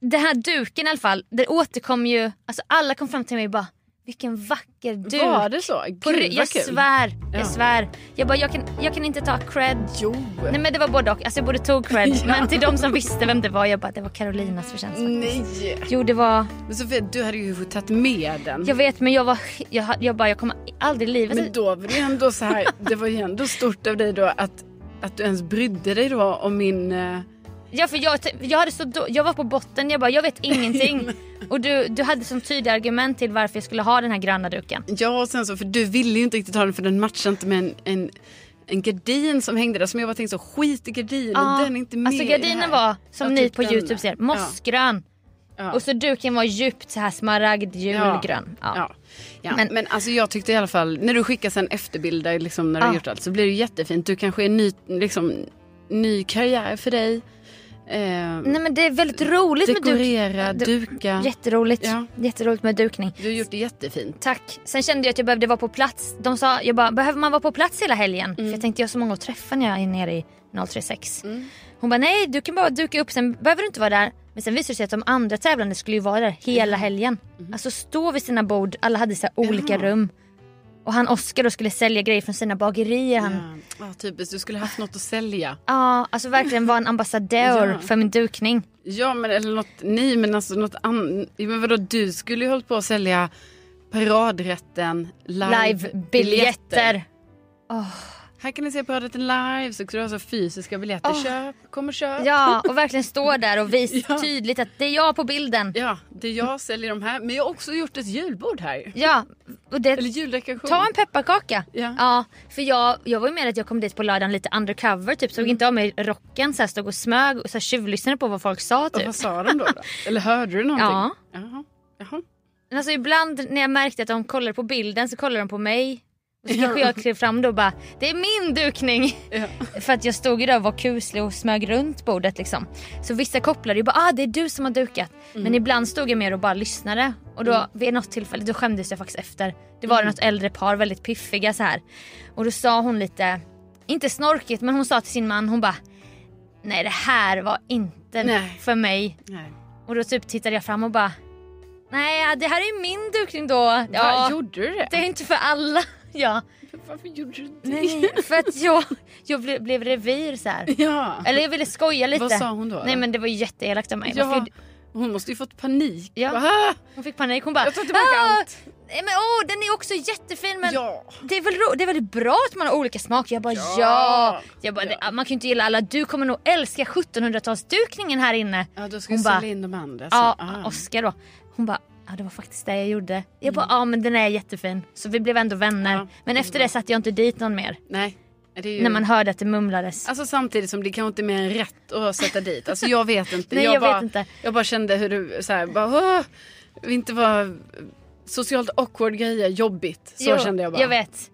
[SPEAKER 2] den här duken i alla fall. Det återkom ju... Alltså alla kom fram till mig och bara vilken vacker duk.
[SPEAKER 3] Var det så? Gud
[SPEAKER 2] På, ry-
[SPEAKER 3] vad
[SPEAKER 2] jag
[SPEAKER 3] kul.
[SPEAKER 2] svär, jag
[SPEAKER 3] Ja.
[SPEAKER 2] svär. Jag bara jag kan, jag kan inte ta cred.
[SPEAKER 3] Jo.
[SPEAKER 2] Nej men det var både och. Alltså jag borde tog cred. Men till de som visste vem det var, jag bara det var Carolinas förtjänst.
[SPEAKER 3] Nej.
[SPEAKER 2] Jo det var,
[SPEAKER 3] Men Sofia, du hade ju tagit med den.
[SPEAKER 2] jag vet men jag var, jag, jag bara jag kommer aldrig i livet.
[SPEAKER 3] Men då var det ju ändå så här, det var ju ändå stort av dig då att, att du ens brydde dig då om min... eh,
[SPEAKER 2] Ja för jag, jag, hade så då, jag var på botten, jag bara jag vet ingenting. Och du, du hade som tydliga argument till varför jag skulle ha den här gröna duken.
[SPEAKER 3] Ja, och sen så, för du ville ju inte riktigt ha den för den matchade inte med en, en en gardin som hängde där som jag bara tänkte så skit i gardinen, den är inte med
[SPEAKER 2] alltså
[SPEAKER 3] i det här.
[SPEAKER 2] gardinen var som
[SPEAKER 3] Jag
[SPEAKER 2] ni
[SPEAKER 3] tyckte
[SPEAKER 2] på
[SPEAKER 3] den
[SPEAKER 2] Youtube
[SPEAKER 3] där.
[SPEAKER 2] ser,
[SPEAKER 3] Ja.
[SPEAKER 2] mossgrön.
[SPEAKER 3] Ja.
[SPEAKER 2] Och så duken var djupt så här smaragd julgrön. Ja.
[SPEAKER 3] Ja. Ja.
[SPEAKER 2] Men-
[SPEAKER 3] Men, alltså jag tyckte i alla fall, när du skickar sen efterbilder liksom, när du
[SPEAKER 2] Ja.
[SPEAKER 3] har gjort allt så blir det ju jättefint. Du kanske är ny, liksom, ny karriär för dig. Eh,
[SPEAKER 2] Nej men det är väldigt roligt
[SPEAKER 3] dekorera,
[SPEAKER 2] med duk.
[SPEAKER 3] duka.
[SPEAKER 2] Jätteroligt.
[SPEAKER 3] Ja.
[SPEAKER 2] Jätteroligt med dukning.
[SPEAKER 3] Du har gjort det jättefint.
[SPEAKER 2] Tack. Sen kände jag att jag behövde vara på plats. De sa, jag bara, behöver man vara på plats hela helgen? För
[SPEAKER 3] Mm.
[SPEAKER 2] jag tänkte jag har så många att träffa när jag är nere i 036. Hon bara, nej du kan bara duka upp, sen behöver du inte vara där. Men sen visade det sig att de andra tävlande skulle ju vara där hela helgen.
[SPEAKER 3] Mm.
[SPEAKER 2] Alltså stå vid sina bord, alla hade så här olika rum. Och han Oskar då skulle sälja grejer från sina bagerier. Han, ja.
[SPEAKER 3] Ja, typiskt, du skulle haft något att sälja.
[SPEAKER 2] alltså verkligen vara en ambassadör
[SPEAKER 3] Ja.
[SPEAKER 2] för min dukning.
[SPEAKER 3] Ja men eller något, nej men alltså något annat. Men vadå du skulle ju hållit på att sälja paradrätten live-biljetter.
[SPEAKER 2] Live-biljetter.
[SPEAKER 3] Här kan ni se paradrätten live, så skulle du ha så fysiska biljetter. Köp, kom och köp.
[SPEAKER 2] Ja, och verkligen stå där och visa
[SPEAKER 3] Ja.
[SPEAKER 2] tydligt att det är jag på bilden.
[SPEAKER 3] Ja, det är jag säljer de här. Men jag har också gjort ett julbord här.
[SPEAKER 2] Ja, och det,
[SPEAKER 3] Eller juldekoration.
[SPEAKER 2] Ta en pepparkaka.
[SPEAKER 3] Ja.
[SPEAKER 2] för jag, jag var ju med att jag kom dit på lördagen lite undercover. Typ, såg inte av mig rocken. Så här, stod och smög och så här, tjuvlyssnade på vad folk sa.
[SPEAKER 3] Och
[SPEAKER 2] Typ.
[SPEAKER 3] vad sa de då? då? Eller hörde du någonting?
[SPEAKER 2] Ja.
[SPEAKER 3] Jaha. Jaha.
[SPEAKER 2] Men alltså, ibland när jag märkte att de kollade på bilden så kollade de på mig. Och så kanske jag klev fram då och bara “det är min dukning”.
[SPEAKER 3] Ja.
[SPEAKER 2] För att jag stod ju där och var kuslig och smög runt bordet liksom. Så vissa kopplade ju bara “ah det är du som har dukat”.
[SPEAKER 3] Mm.
[SPEAKER 2] Men ibland stod jag mer och bara lyssnade. Och då vid något tillfälle då skämdes jag faktiskt efter. Det
[SPEAKER 3] Mm.
[SPEAKER 2] var något äldre par, väldigt piffiga så här. Och då sa hon lite, inte snorkigt men hon sa till sin man hon bara “nej det här var inte
[SPEAKER 3] Nej.
[SPEAKER 2] för mig”.
[SPEAKER 3] Nej.
[SPEAKER 2] Och då typ tittade jag fram och bara Nej, det här är min dukning då.
[SPEAKER 3] Va,
[SPEAKER 2] Ja,
[SPEAKER 3] gjorde du det?
[SPEAKER 2] det är inte för alla. Ja,
[SPEAKER 3] Varför gjorde du det?
[SPEAKER 2] nej, för att jag, jag ble, blev revir så här.
[SPEAKER 3] Ja.
[SPEAKER 2] Eller jag ville skoja lite.
[SPEAKER 3] Vad sa hon då?
[SPEAKER 2] Nej men det var ju jätteelakt av mig. Varför
[SPEAKER 3] ja.
[SPEAKER 2] gjorde-
[SPEAKER 3] Hon måmåste ju fått panik.
[SPEAKER 2] Ja.
[SPEAKER 3] Va?
[SPEAKER 2] "Ah!" Hon fick panik. Hon bara
[SPEAKER 3] Jag tar tillbaka
[SPEAKER 2] "Ah,
[SPEAKER 3] allt."
[SPEAKER 2] Nej men åh, den är också jättefin men
[SPEAKER 3] Ja.
[SPEAKER 2] det, är väl ro- det är väldigt bra att man har olika smaker. Jag bara ja.
[SPEAKER 3] Ja.
[SPEAKER 2] Jag bara,
[SPEAKER 3] Ja.
[SPEAKER 2] "Det- Man kan ju inte gilla alla. Du kommer nog älska 1700-talsdukningen här inne.
[SPEAKER 3] Ja, då ska
[SPEAKER 2] Hon
[SPEAKER 3] jag
[SPEAKER 2] bara,
[SPEAKER 3] sälja in de andra. så.
[SPEAKER 2] Ja,
[SPEAKER 3] Ah. Mm.
[SPEAKER 2] Oskar då. Hon bara, ja det var faktiskt det jag gjorde. Jag bara, ja men den är jättefin. Så vi blev ändå vänner.
[SPEAKER 3] Ja,
[SPEAKER 2] men efter det satte jag inte dit någon mer.
[SPEAKER 3] Nej. Det är ju...
[SPEAKER 2] När man hörde att det mumlades.
[SPEAKER 3] Alltså samtidigt som det kanske inte är mer än rätt att sätta dit. Alltså jag vet inte.
[SPEAKER 2] Nej, jag vet
[SPEAKER 3] bara,
[SPEAKER 2] inte.
[SPEAKER 3] Jag bara kände hur du så här, bara, "Åh, vill inte vara socialt awkward grejer, jobbigt. Så
[SPEAKER 2] Jo,
[SPEAKER 3] kände jag bara.
[SPEAKER 2] Jag vet.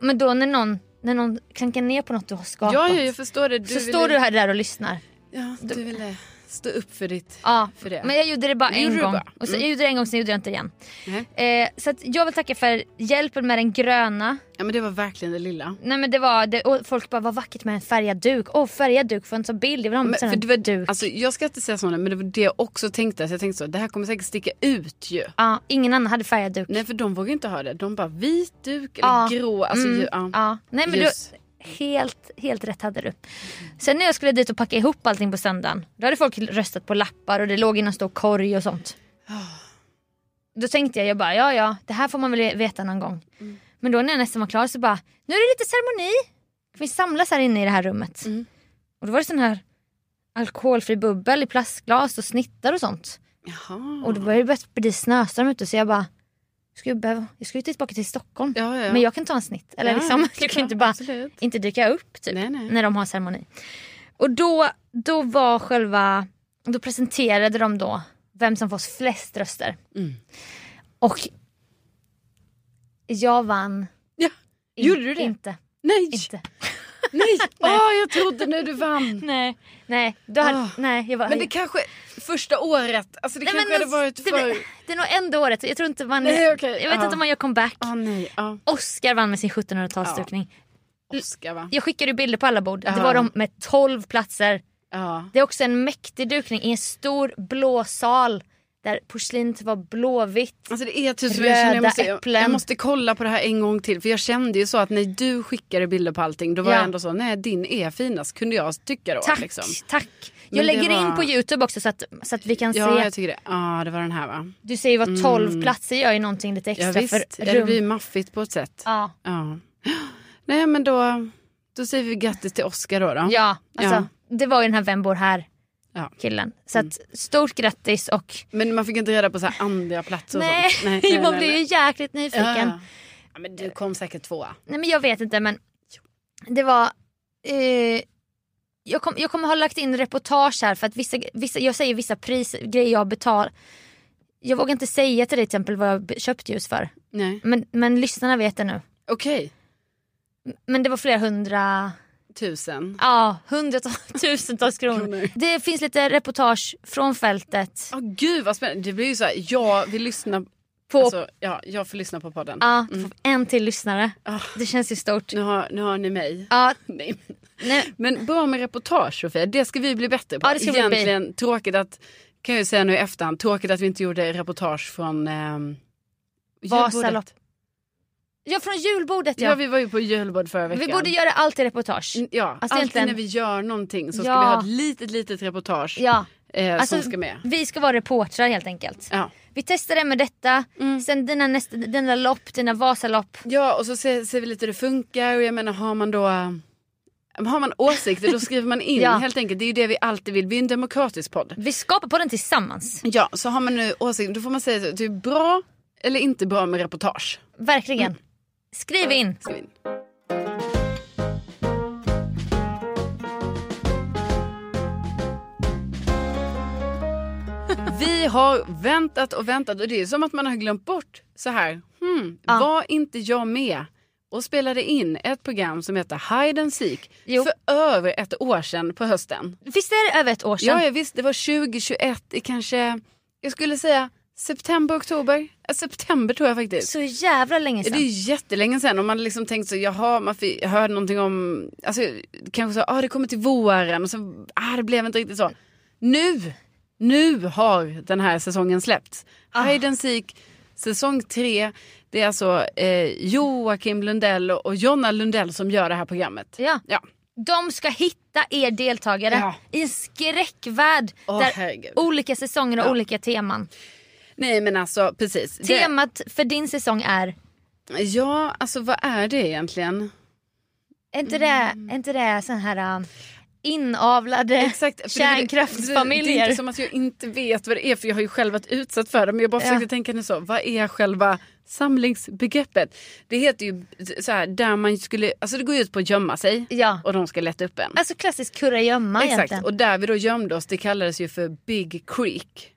[SPEAKER 2] Men då när någon, när någon klankar ner på något du har
[SPEAKER 3] Ja,
[SPEAKER 2] skapat.
[SPEAKER 3] ja, jag förstår det. Du
[SPEAKER 2] så
[SPEAKER 3] ville-
[SPEAKER 2] står du här där och lyssnar.
[SPEAKER 3] Ja, du ville stå upp för ditt...
[SPEAKER 2] Ja,
[SPEAKER 3] för det.
[SPEAKER 2] men jag gjorde det bara
[SPEAKER 3] Det
[SPEAKER 2] en
[SPEAKER 3] gjorde du
[SPEAKER 2] gång.
[SPEAKER 3] bara.
[SPEAKER 2] Och så,
[SPEAKER 3] Mm.
[SPEAKER 2] Jag gjorde det en gång, sen gjorde jag inte igen.
[SPEAKER 3] Nej.
[SPEAKER 2] Eh, så att jag vill tacka för hjälpen med den gröna.
[SPEAKER 3] Ja, men det var verkligen det lilla.
[SPEAKER 2] Nej men det var, det, och folk bara vad vackert med en färgad duk. Åh färgad duk, får jag en sån bild? Jag vill ha en
[SPEAKER 3] Men,
[SPEAKER 2] sån
[SPEAKER 3] för
[SPEAKER 2] här
[SPEAKER 3] det var,
[SPEAKER 2] duk.
[SPEAKER 3] Alltså, jag ska inte säga sådana, men det var det jag också tänkte. Så jag tänkte så, det här kommer säkert sticka ut ju.
[SPEAKER 2] Ja, ingen annan hade färgad duk.
[SPEAKER 3] Nej, för de vågar inte ha det. De bara vit duk eller
[SPEAKER 2] Ja.
[SPEAKER 3] grå. Alltså,
[SPEAKER 2] Mm,
[SPEAKER 3] ju, ja.
[SPEAKER 2] ja. Nej, men du,
[SPEAKER 3] Ljus.
[SPEAKER 2] helt, helt rätt hade du. Sen när jag skulle dit och packa ihop allting på söndagen. Då hade folk röstat på lappar och det låg i någon stor korg och sånt. Då tänkte jag, jag bara, ja ja, det här får man väl veta någon gång. Men då när jag nästan var klar så bara, nu är det lite ceremoni. Vi samlas här inne i det här rummet. Och då var det sån här alkoholfri bubbel i plastglas och snittar och sånt.
[SPEAKER 3] Jaha.
[SPEAKER 2] Och då började det börjat bli snöstorm ute så jag bara, ska jag, behöva, jag ska ju tillbaka till Stockholm.
[SPEAKER 3] Ja, ja, ja.
[SPEAKER 2] Men jag kan ta en snitt. Eller
[SPEAKER 3] Ja,
[SPEAKER 2] liksom,
[SPEAKER 3] såklart,
[SPEAKER 2] jag kan inte bara
[SPEAKER 3] absolut.
[SPEAKER 2] inte dyka upp typ,
[SPEAKER 3] Nej, nej.
[SPEAKER 2] när de har ceremoni. Och då, då var själva, då presenterade de då vem som fått flest röster.
[SPEAKER 3] Mm.
[SPEAKER 2] Och jag vann
[SPEAKER 3] Ja.
[SPEAKER 2] in-
[SPEAKER 3] Gjorde du det?
[SPEAKER 2] inte.
[SPEAKER 3] Nej!
[SPEAKER 2] inte.
[SPEAKER 3] Nej! Åh, jag trodde nu du vann.
[SPEAKER 2] Nej, nej, då hade,
[SPEAKER 3] Ah.
[SPEAKER 2] nej jag var
[SPEAKER 3] Men det kanske, första året, alltså det
[SPEAKER 2] Nej,
[SPEAKER 3] kanske
[SPEAKER 2] men
[SPEAKER 3] hade varit
[SPEAKER 2] det,
[SPEAKER 3] för...
[SPEAKER 2] det är nog ändå året, jag tror inte man,
[SPEAKER 3] Nej, okej,
[SPEAKER 2] jag vet
[SPEAKER 3] ja.
[SPEAKER 2] inte om man gör comeback.
[SPEAKER 3] Ah, nej, ja.
[SPEAKER 2] Oscar vann med sin 1700-talsdukning.
[SPEAKER 3] Oscar va?
[SPEAKER 2] Jag skickade ju bilder på alla bord. Det
[SPEAKER 3] Ja.
[SPEAKER 2] var de med 12 platser.
[SPEAKER 3] Ja.
[SPEAKER 2] Det är också en mäktig dukning i en stor blå sal där porslinet var blåvitt.
[SPEAKER 3] Alltså det är typ som jag känner,
[SPEAKER 2] Röda
[SPEAKER 3] jag måste, jag,
[SPEAKER 2] äpplen.
[SPEAKER 3] jag måste kolla på det här en gång till. För jag kände ju så att när du skickade bilder på allting då var
[SPEAKER 2] Ja.
[SPEAKER 3] jag ändå så, nej din är finast kunde jag tycka då.
[SPEAKER 2] Tack,
[SPEAKER 3] liksom.
[SPEAKER 2] tack.
[SPEAKER 3] Men
[SPEAKER 2] Jag
[SPEAKER 3] det
[SPEAKER 2] lägger in
[SPEAKER 3] var-
[SPEAKER 2] på Youtube också så att, så att vi kan
[SPEAKER 3] Ja,
[SPEAKER 2] se.
[SPEAKER 3] jag tycker det. Ja, det var den här va?
[SPEAKER 2] Du ser ju vad 12 platser gör ju någonting lite
[SPEAKER 3] Ja,
[SPEAKER 2] extra för
[SPEAKER 3] visst. Ja, det
[SPEAKER 2] rum.
[SPEAKER 3] blir maffigt på ett sätt.
[SPEAKER 2] Ja,
[SPEAKER 3] Ja. Nej men då, då säger vi grattis till Oscar då. då.
[SPEAKER 2] ja alltså
[SPEAKER 3] Ja.
[SPEAKER 2] det var ju den här Vem bor här
[SPEAKER 3] Ja. Mm.
[SPEAKER 2] killen. Så att, stort grattis och
[SPEAKER 3] Men man fick inte reda på så här andra plats och
[SPEAKER 2] nej,
[SPEAKER 3] sånt.
[SPEAKER 2] man blir ju jäkligt
[SPEAKER 3] Ja,
[SPEAKER 2] nyfiken.
[SPEAKER 3] ja. ja, men du kom säkert tvåa.
[SPEAKER 2] Nej men jag vet inte men det var... Eh, jag, kom, jag kommer ha lagt in reportage här för att vissa, vissa, jag säger vissa pris, grejer jag betalar. Jag vågar inte säga till dig till exempel vad jag be- köpt ljus för.
[SPEAKER 3] Nej.
[SPEAKER 2] Men, men lyssnarna vet det nu.
[SPEAKER 3] Okej,
[SPEAKER 2] Men det var flera hundra...
[SPEAKER 3] tusen.
[SPEAKER 2] Ja, hundratals, tusentals kronor.
[SPEAKER 3] Kronor.
[SPEAKER 2] Det finns lite reportage från fältet.
[SPEAKER 3] Ja gud vad spännande. Det blir ju så här, jag vill lyssna på... Alltså, ja, jag får lyssna på podden.
[SPEAKER 2] Ja, får en till lyssnare.
[SPEAKER 3] Ah.
[SPEAKER 2] Det känns ju stort.
[SPEAKER 3] Nu, har, nu har ni mig.
[SPEAKER 2] Ja,
[SPEAKER 3] Nej.
[SPEAKER 2] nej,
[SPEAKER 3] Men bra med reportage Sofia, det ska vi bli bättre på.
[SPEAKER 2] Ja, det ska vi bli.
[SPEAKER 3] Egentligen tråkigt att, kan jag ju säga nu i efterhand, tråkigt att vi inte gjorde reportage från ehm,
[SPEAKER 2] Vasaloppet.
[SPEAKER 3] julbordet.
[SPEAKER 2] ja, från julbordet
[SPEAKER 3] Ja.
[SPEAKER 2] ja.
[SPEAKER 3] vi var ju på julbord förra veckan.
[SPEAKER 2] vi borde göra allt i reportage.
[SPEAKER 3] Mm, Ja,
[SPEAKER 2] Alltså,
[SPEAKER 3] alltid
[SPEAKER 2] egentligen-
[SPEAKER 3] när vi gör någonting så ska
[SPEAKER 2] Ja.
[SPEAKER 3] vi ha ett litet, litet reportage
[SPEAKER 2] Ja.
[SPEAKER 3] eh,
[SPEAKER 2] Alltså,
[SPEAKER 3] som ska med.
[SPEAKER 2] Vi ska vara reportrar helt enkelt.
[SPEAKER 3] Ja. Mm.
[SPEAKER 2] Vi testar det med detta, sen dina, nästa, dina lopp, dina Vasalopp.
[SPEAKER 3] Ja, och så ser, ser vi lite hur det funkar och jag menar har man då har man åsikter då skriver man in
[SPEAKER 2] Ja.
[SPEAKER 3] helt enkelt. Det är ju det vi alltid vill. Vi är en demokratisk podd.
[SPEAKER 2] Vi skapar på den tillsammans,
[SPEAKER 3] Ja, så har man nu åsikter Eh, då får man säga så, det är bra eller inte bra med reportage.
[SPEAKER 2] verkligen.
[SPEAKER 3] Mm.
[SPEAKER 2] Skriv in.
[SPEAKER 3] Skriv in. Vi har väntat och väntat och det är som att man har glömt bort så här. Hmm,
[SPEAKER 2] Ja.
[SPEAKER 3] Var inte jag med och spelade in ett program som heter Hide and Seek
[SPEAKER 2] Jo.
[SPEAKER 3] för över ett år sedan på hösten.
[SPEAKER 2] Visst är det över ett år sedan?
[SPEAKER 3] Ja, ja visst, det var 2021 i kanske, jag skulle säga september, oktober. Eh, September tror jag faktiskt.
[SPEAKER 2] Så jävla länge
[SPEAKER 3] Ja,
[SPEAKER 2] sedan.
[SPEAKER 3] Det är jättelänge sedan och man har liksom tänkt så, jaha, man fick, hörde någonting om, alltså kanske så, ah det kommer till våren och så, ah det blev inte riktigt så. Nu, nu har den här säsongen släppts. Hide and Seek, säsong tre, det är alltså eh, Joakim Lundell och Jonna Lundell som gör det här programmet.
[SPEAKER 2] Ja.
[SPEAKER 3] Ja.
[SPEAKER 2] De ska hitta er deltagare
[SPEAKER 3] Ja.
[SPEAKER 2] i en skräckvärld
[SPEAKER 3] Åh,
[SPEAKER 2] där
[SPEAKER 3] herregud.
[SPEAKER 2] olika säsonger och
[SPEAKER 3] Ja.
[SPEAKER 2] olika teman.
[SPEAKER 3] Nej men alltså precis. Det-
[SPEAKER 2] Temat för din säsong är,
[SPEAKER 3] Ja, alltså vad är det egentligen?
[SPEAKER 2] är inte det,
[SPEAKER 3] Mm.
[SPEAKER 2] är inte det sån här um, inavlade
[SPEAKER 3] Exakt, för det är väl-
[SPEAKER 2] kärnkraftsfamiljer?
[SPEAKER 3] Det är inte som att jag inte vet vad det är för jag har ju själv varit utsatt för det. Men jag bara försökte
[SPEAKER 2] Ja.
[SPEAKER 3] tänka nu så, vad är själva samlingsbegreppet? Det heter ju så här, där man skulle, alltså det går ju ut på att gömma sig
[SPEAKER 2] Ja.
[SPEAKER 3] och de ska leta upp en.
[SPEAKER 2] Alltså klassisk kurragömma
[SPEAKER 3] Exakt,
[SPEAKER 2] egentligen.
[SPEAKER 3] och där vi då gömde oss det kallades ju för Big Creek.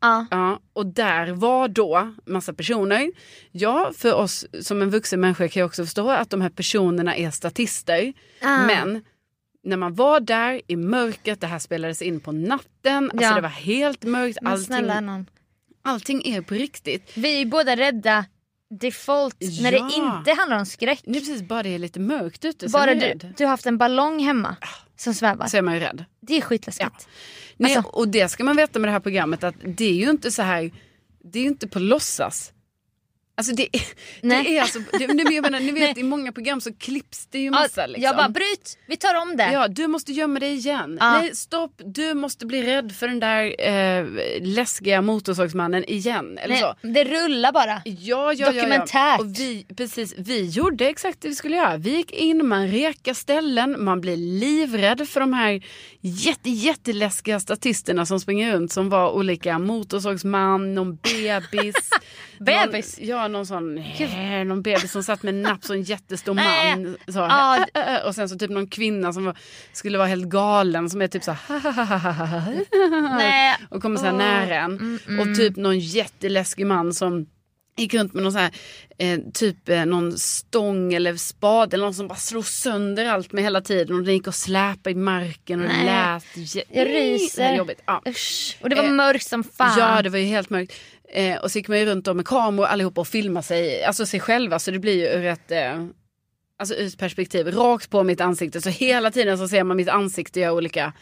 [SPEAKER 2] Ja.
[SPEAKER 3] Ja, och där var då massa personer. Ja, för oss som en vuxen människa kan jag också förstå att de här personerna är statister.
[SPEAKER 2] Ah.
[SPEAKER 3] Men när man var där i mörkret, det här spelades in på natten, alltså
[SPEAKER 2] Ja.
[SPEAKER 3] det var helt mörkt,
[SPEAKER 2] Men
[SPEAKER 3] allting,
[SPEAKER 2] snälla någon.
[SPEAKER 3] allting är på riktigt.
[SPEAKER 2] Vi är ju båda rädda default när det
[SPEAKER 3] Ja. Alltså,
[SPEAKER 2] inte handlar om skräck.
[SPEAKER 3] Nu precis, bara det är lite mörkt ute så,
[SPEAKER 2] Bara
[SPEAKER 3] är, man ju
[SPEAKER 2] du,
[SPEAKER 3] rädd.
[SPEAKER 2] du har haft en ballong hemma som svävar.
[SPEAKER 3] så är man ju rädd.
[SPEAKER 2] Det är skitläskigt.
[SPEAKER 3] Nej,
[SPEAKER 2] Alltså-
[SPEAKER 3] och det ska man veta med det här programmet att det är ju inte så här, det är ju inte på låtsas. Alltså det, är-
[SPEAKER 2] Nej.
[SPEAKER 3] det är alltså, det, men jag menar, ni vet i många program så klipps det ju
[SPEAKER 2] Ja.
[SPEAKER 3] massa liksom.
[SPEAKER 2] Jag bara bryt, vi tar om det.
[SPEAKER 3] Ja, du måste gömma dig igen.
[SPEAKER 2] Ja.
[SPEAKER 3] Nej, stopp. Du måste bli rädd för den där eh, läskiga motorsågsmannen igen. Eller
[SPEAKER 2] Nej,
[SPEAKER 3] så.
[SPEAKER 2] det rullar bara.
[SPEAKER 3] Ja, ja, Ja,
[SPEAKER 2] Dokumentärt.
[SPEAKER 3] ja. Och vi, precis, vi gjorde exakt det vi skulle göra. Vi gick in, man rekade ställen, man blir livrädd för de här jätte, jätteläskiga statisterna som springer runt som var olika motorsågsman, någon bebis.
[SPEAKER 2] Bebis?
[SPEAKER 3] Någon, ja, någon sån, eh, någon bebis som satt med en napp och en jättestor man. Så,
[SPEAKER 2] Äh, Ja,
[SPEAKER 3] eh, eh, eh. Och sen så typ någon kvinna som var, skulle vara helt galen som är typ så här
[SPEAKER 2] Nej. Mm,
[SPEAKER 3] och kommer så här
[SPEAKER 2] Åh.
[SPEAKER 3] nära en. Och typ någon jätteläskig man som gick runt med någon så här, eh, typ eh, någon stång eller spade eller någon som bara slog sönder allt med hela tiden och den gick och släpade i marken och det
[SPEAKER 2] Nej.
[SPEAKER 3] lät jä- Mm.
[SPEAKER 2] Jag
[SPEAKER 3] Det
[SPEAKER 2] ryser.
[SPEAKER 3] var jobbigt. Ja.
[SPEAKER 2] Usch. Och det var
[SPEAKER 3] Eh,
[SPEAKER 2] mörkt som fan.
[SPEAKER 3] ja, det var ju helt mörkt. Eh, och så gick man ju runt om med kameror allihopa och filmade sig, alltså sig själva så det blir ju ur ett eh, alltså ur ett perspektiv rakt på mitt ansikte så hela tiden så ser man mitt ansikte göra olika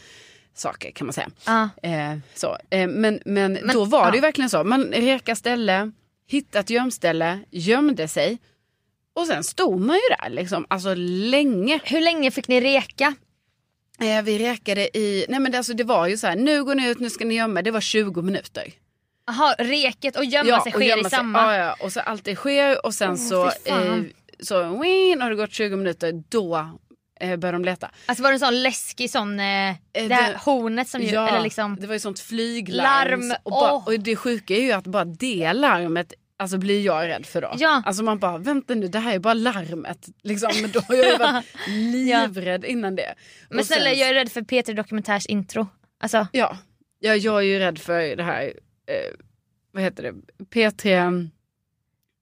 [SPEAKER 3] saker kan man säga.
[SPEAKER 2] Ja.
[SPEAKER 3] Eh, så. Eh, men, men, då var det ju verkligen så. Man reka ställe, hittade ett gömställe, gömde sig. Och sen stod man ju där liksom, alltså länge.
[SPEAKER 2] Hur länge fick ni reka?
[SPEAKER 3] Eh, vi rekade i, nej men det, alltså, det var ju så här, nu går ni ut, nu ska ni gömma er. Det var 20 minuter.
[SPEAKER 2] Jaha, reket och gömma sig
[SPEAKER 3] och
[SPEAKER 2] sker
[SPEAKER 3] gömma
[SPEAKER 2] i
[SPEAKER 3] sig. Ja,
[SPEAKER 2] samma.
[SPEAKER 3] ja, och så allt det sker och sen
[SPEAKER 2] Åh,
[SPEAKER 3] så,
[SPEAKER 2] fy fan.
[SPEAKER 3] eh, så win, har det gått 20 minuter, då eh, börjar de leta.
[SPEAKER 2] Alltså var det en sån läskig sån, eh, det här
[SPEAKER 3] det-
[SPEAKER 2] hornet som ju, eller liksom.
[SPEAKER 3] det var ju sånt flyglarm.
[SPEAKER 2] Larm,
[SPEAKER 3] och, bara,
[SPEAKER 2] åh.
[SPEAKER 3] och det sjuka är ju att bara det larmet alltså, blir jag rädd för då.
[SPEAKER 2] Ja.
[SPEAKER 3] Alltså man bara, vänta nu det här är bara larmet. Liksom. Men då har jag ju varit livrädd innan det.
[SPEAKER 2] Men
[SPEAKER 3] Och sen-
[SPEAKER 2] snälla jag är rädd för Peter Dokumentärs intro. Alltså,
[SPEAKER 3] Ja. ja, jag är ju rädd för det här, eh, vad heter det, P3,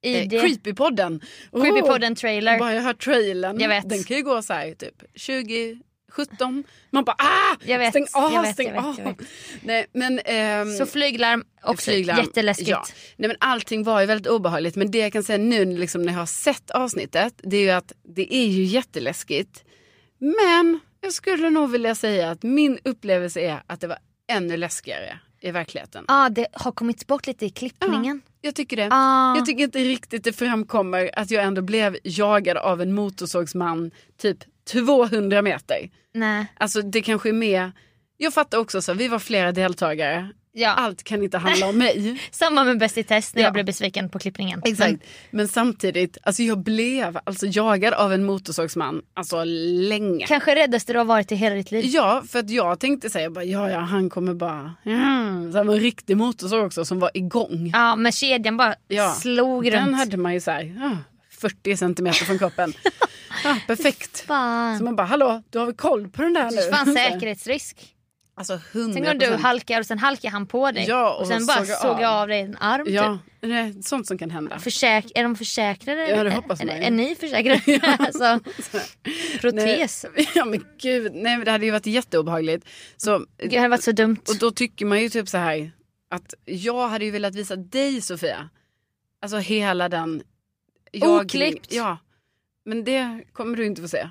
[SPEAKER 2] i
[SPEAKER 3] eh,
[SPEAKER 2] det.
[SPEAKER 3] Creepypodden. Oh,
[SPEAKER 2] Creepypodden trailer.
[SPEAKER 3] Bara jag hör trailern,
[SPEAKER 2] Jag vet.
[SPEAKER 3] den kan ju gå så här typ 20, 17, man bara ah!
[SPEAKER 2] Jag vet,
[SPEAKER 3] stäng av,
[SPEAKER 2] jag vet,
[SPEAKER 3] stäng
[SPEAKER 2] jag vet, jag
[SPEAKER 3] av. Nej men, ehm,
[SPEAKER 2] Så flyglarm också,
[SPEAKER 3] flyglarm.
[SPEAKER 2] jätteläskigt.
[SPEAKER 3] Ja. Nej, men allting var ju väldigt obehagligt. Men det jag kan säga nu liksom, när jag har sett avsnittet, det är ju att det är ju jätteläskigt. Men jag skulle nog vilja säga att min upplevelse är att det var ännu läskigare i verkligheten.
[SPEAKER 2] Ja, Ah, det har kommit bort lite i klippningen.
[SPEAKER 3] Jag tycker det.
[SPEAKER 2] Ah.
[SPEAKER 3] Jag tycker inte riktigt det framkommer att jag ändå blev jagad av en motorsågsman typ 200 meter.
[SPEAKER 2] Nej.
[SPEAKER 3] Alltså det kanske är med. Jag fattar också så, vi var flera deltagare.
[SPEAKER 2] Ja.
[SPEAKER 3] Allt kan inte handla om mig.
[SPEAKER 2] Samma med Bäst i test när
[SPEAKER 3] Ja.
[SPEAKER 2] jag blev besviken på klippningen.
[SPEAKER 3] Exakt. Men samtidigt, alltså jag blev alltså jagad av en motorsågsman alltså länge.
[SPEAKER 2] Men Kanske räddaste du har varit i hela ditt liv.
[SPEAKER 3] Ja, för att jag tänkte säga bara ja, ja, han kommer bara... Mm. Så han var en riktig motorsåg också som var igång.
[SPEAKER 2] Ja, men kedjan bara
[SPEAKER 3] Ja.
[SPEAKER 2] slog runt.
[SPEAKER 3] Den hade man ju så här, ah, 40 centimeter från kroppen. ah, perfekt.
[SPEAKER 2] Fan.
[SPEAKER 3] Så man bara, hallå, du har väl koll på den där nu?
[SPEAKER 2] Det fanns säkerhetsrisk.
[SPEAKER 3] Alltså
[SPEAKER 2] Tänk
[SPEAKER 3] 100
[SPEAKER 2] om du halkar och sen halkar han på dig.
[SPEAKER 3] Ja, och
[SPEAKER 2] och, sen bara
[SPEAKER 3] såg jag
[SPEAKER 2] såg jag
[SPEAKER 3] av.
[SPEAKER 2] av dig en arm.
[SPEAKER 3] Ja,
[SPEAKER 2] Typ.
[SPEAKER 3] det är sånt som kan hända.
[SPEAKER 2] Försäk- är de försäkrade?
[SPEAKER 3] Ja, det hoppas man
[SPEAKER 2] är,
[SPEAKER 3] ju.
[SPEAKER 2] är ni försäkrade? alltså, protes.
[SPEAKER 3] Nej, ja men gud, nej men det hade ju varit jätteobehagligt. Så,
[SPEAKER 2] Gud, Det hade varit så dumt.
[SPEAKER 3] Och då tycker man ju typ så här att jag hade ju velat visa dig Sofia. Alltså hela den.
[SPEAKER 2] Oklippt.
[SPEAKER 3] Ja. Men det kommer du inte få se.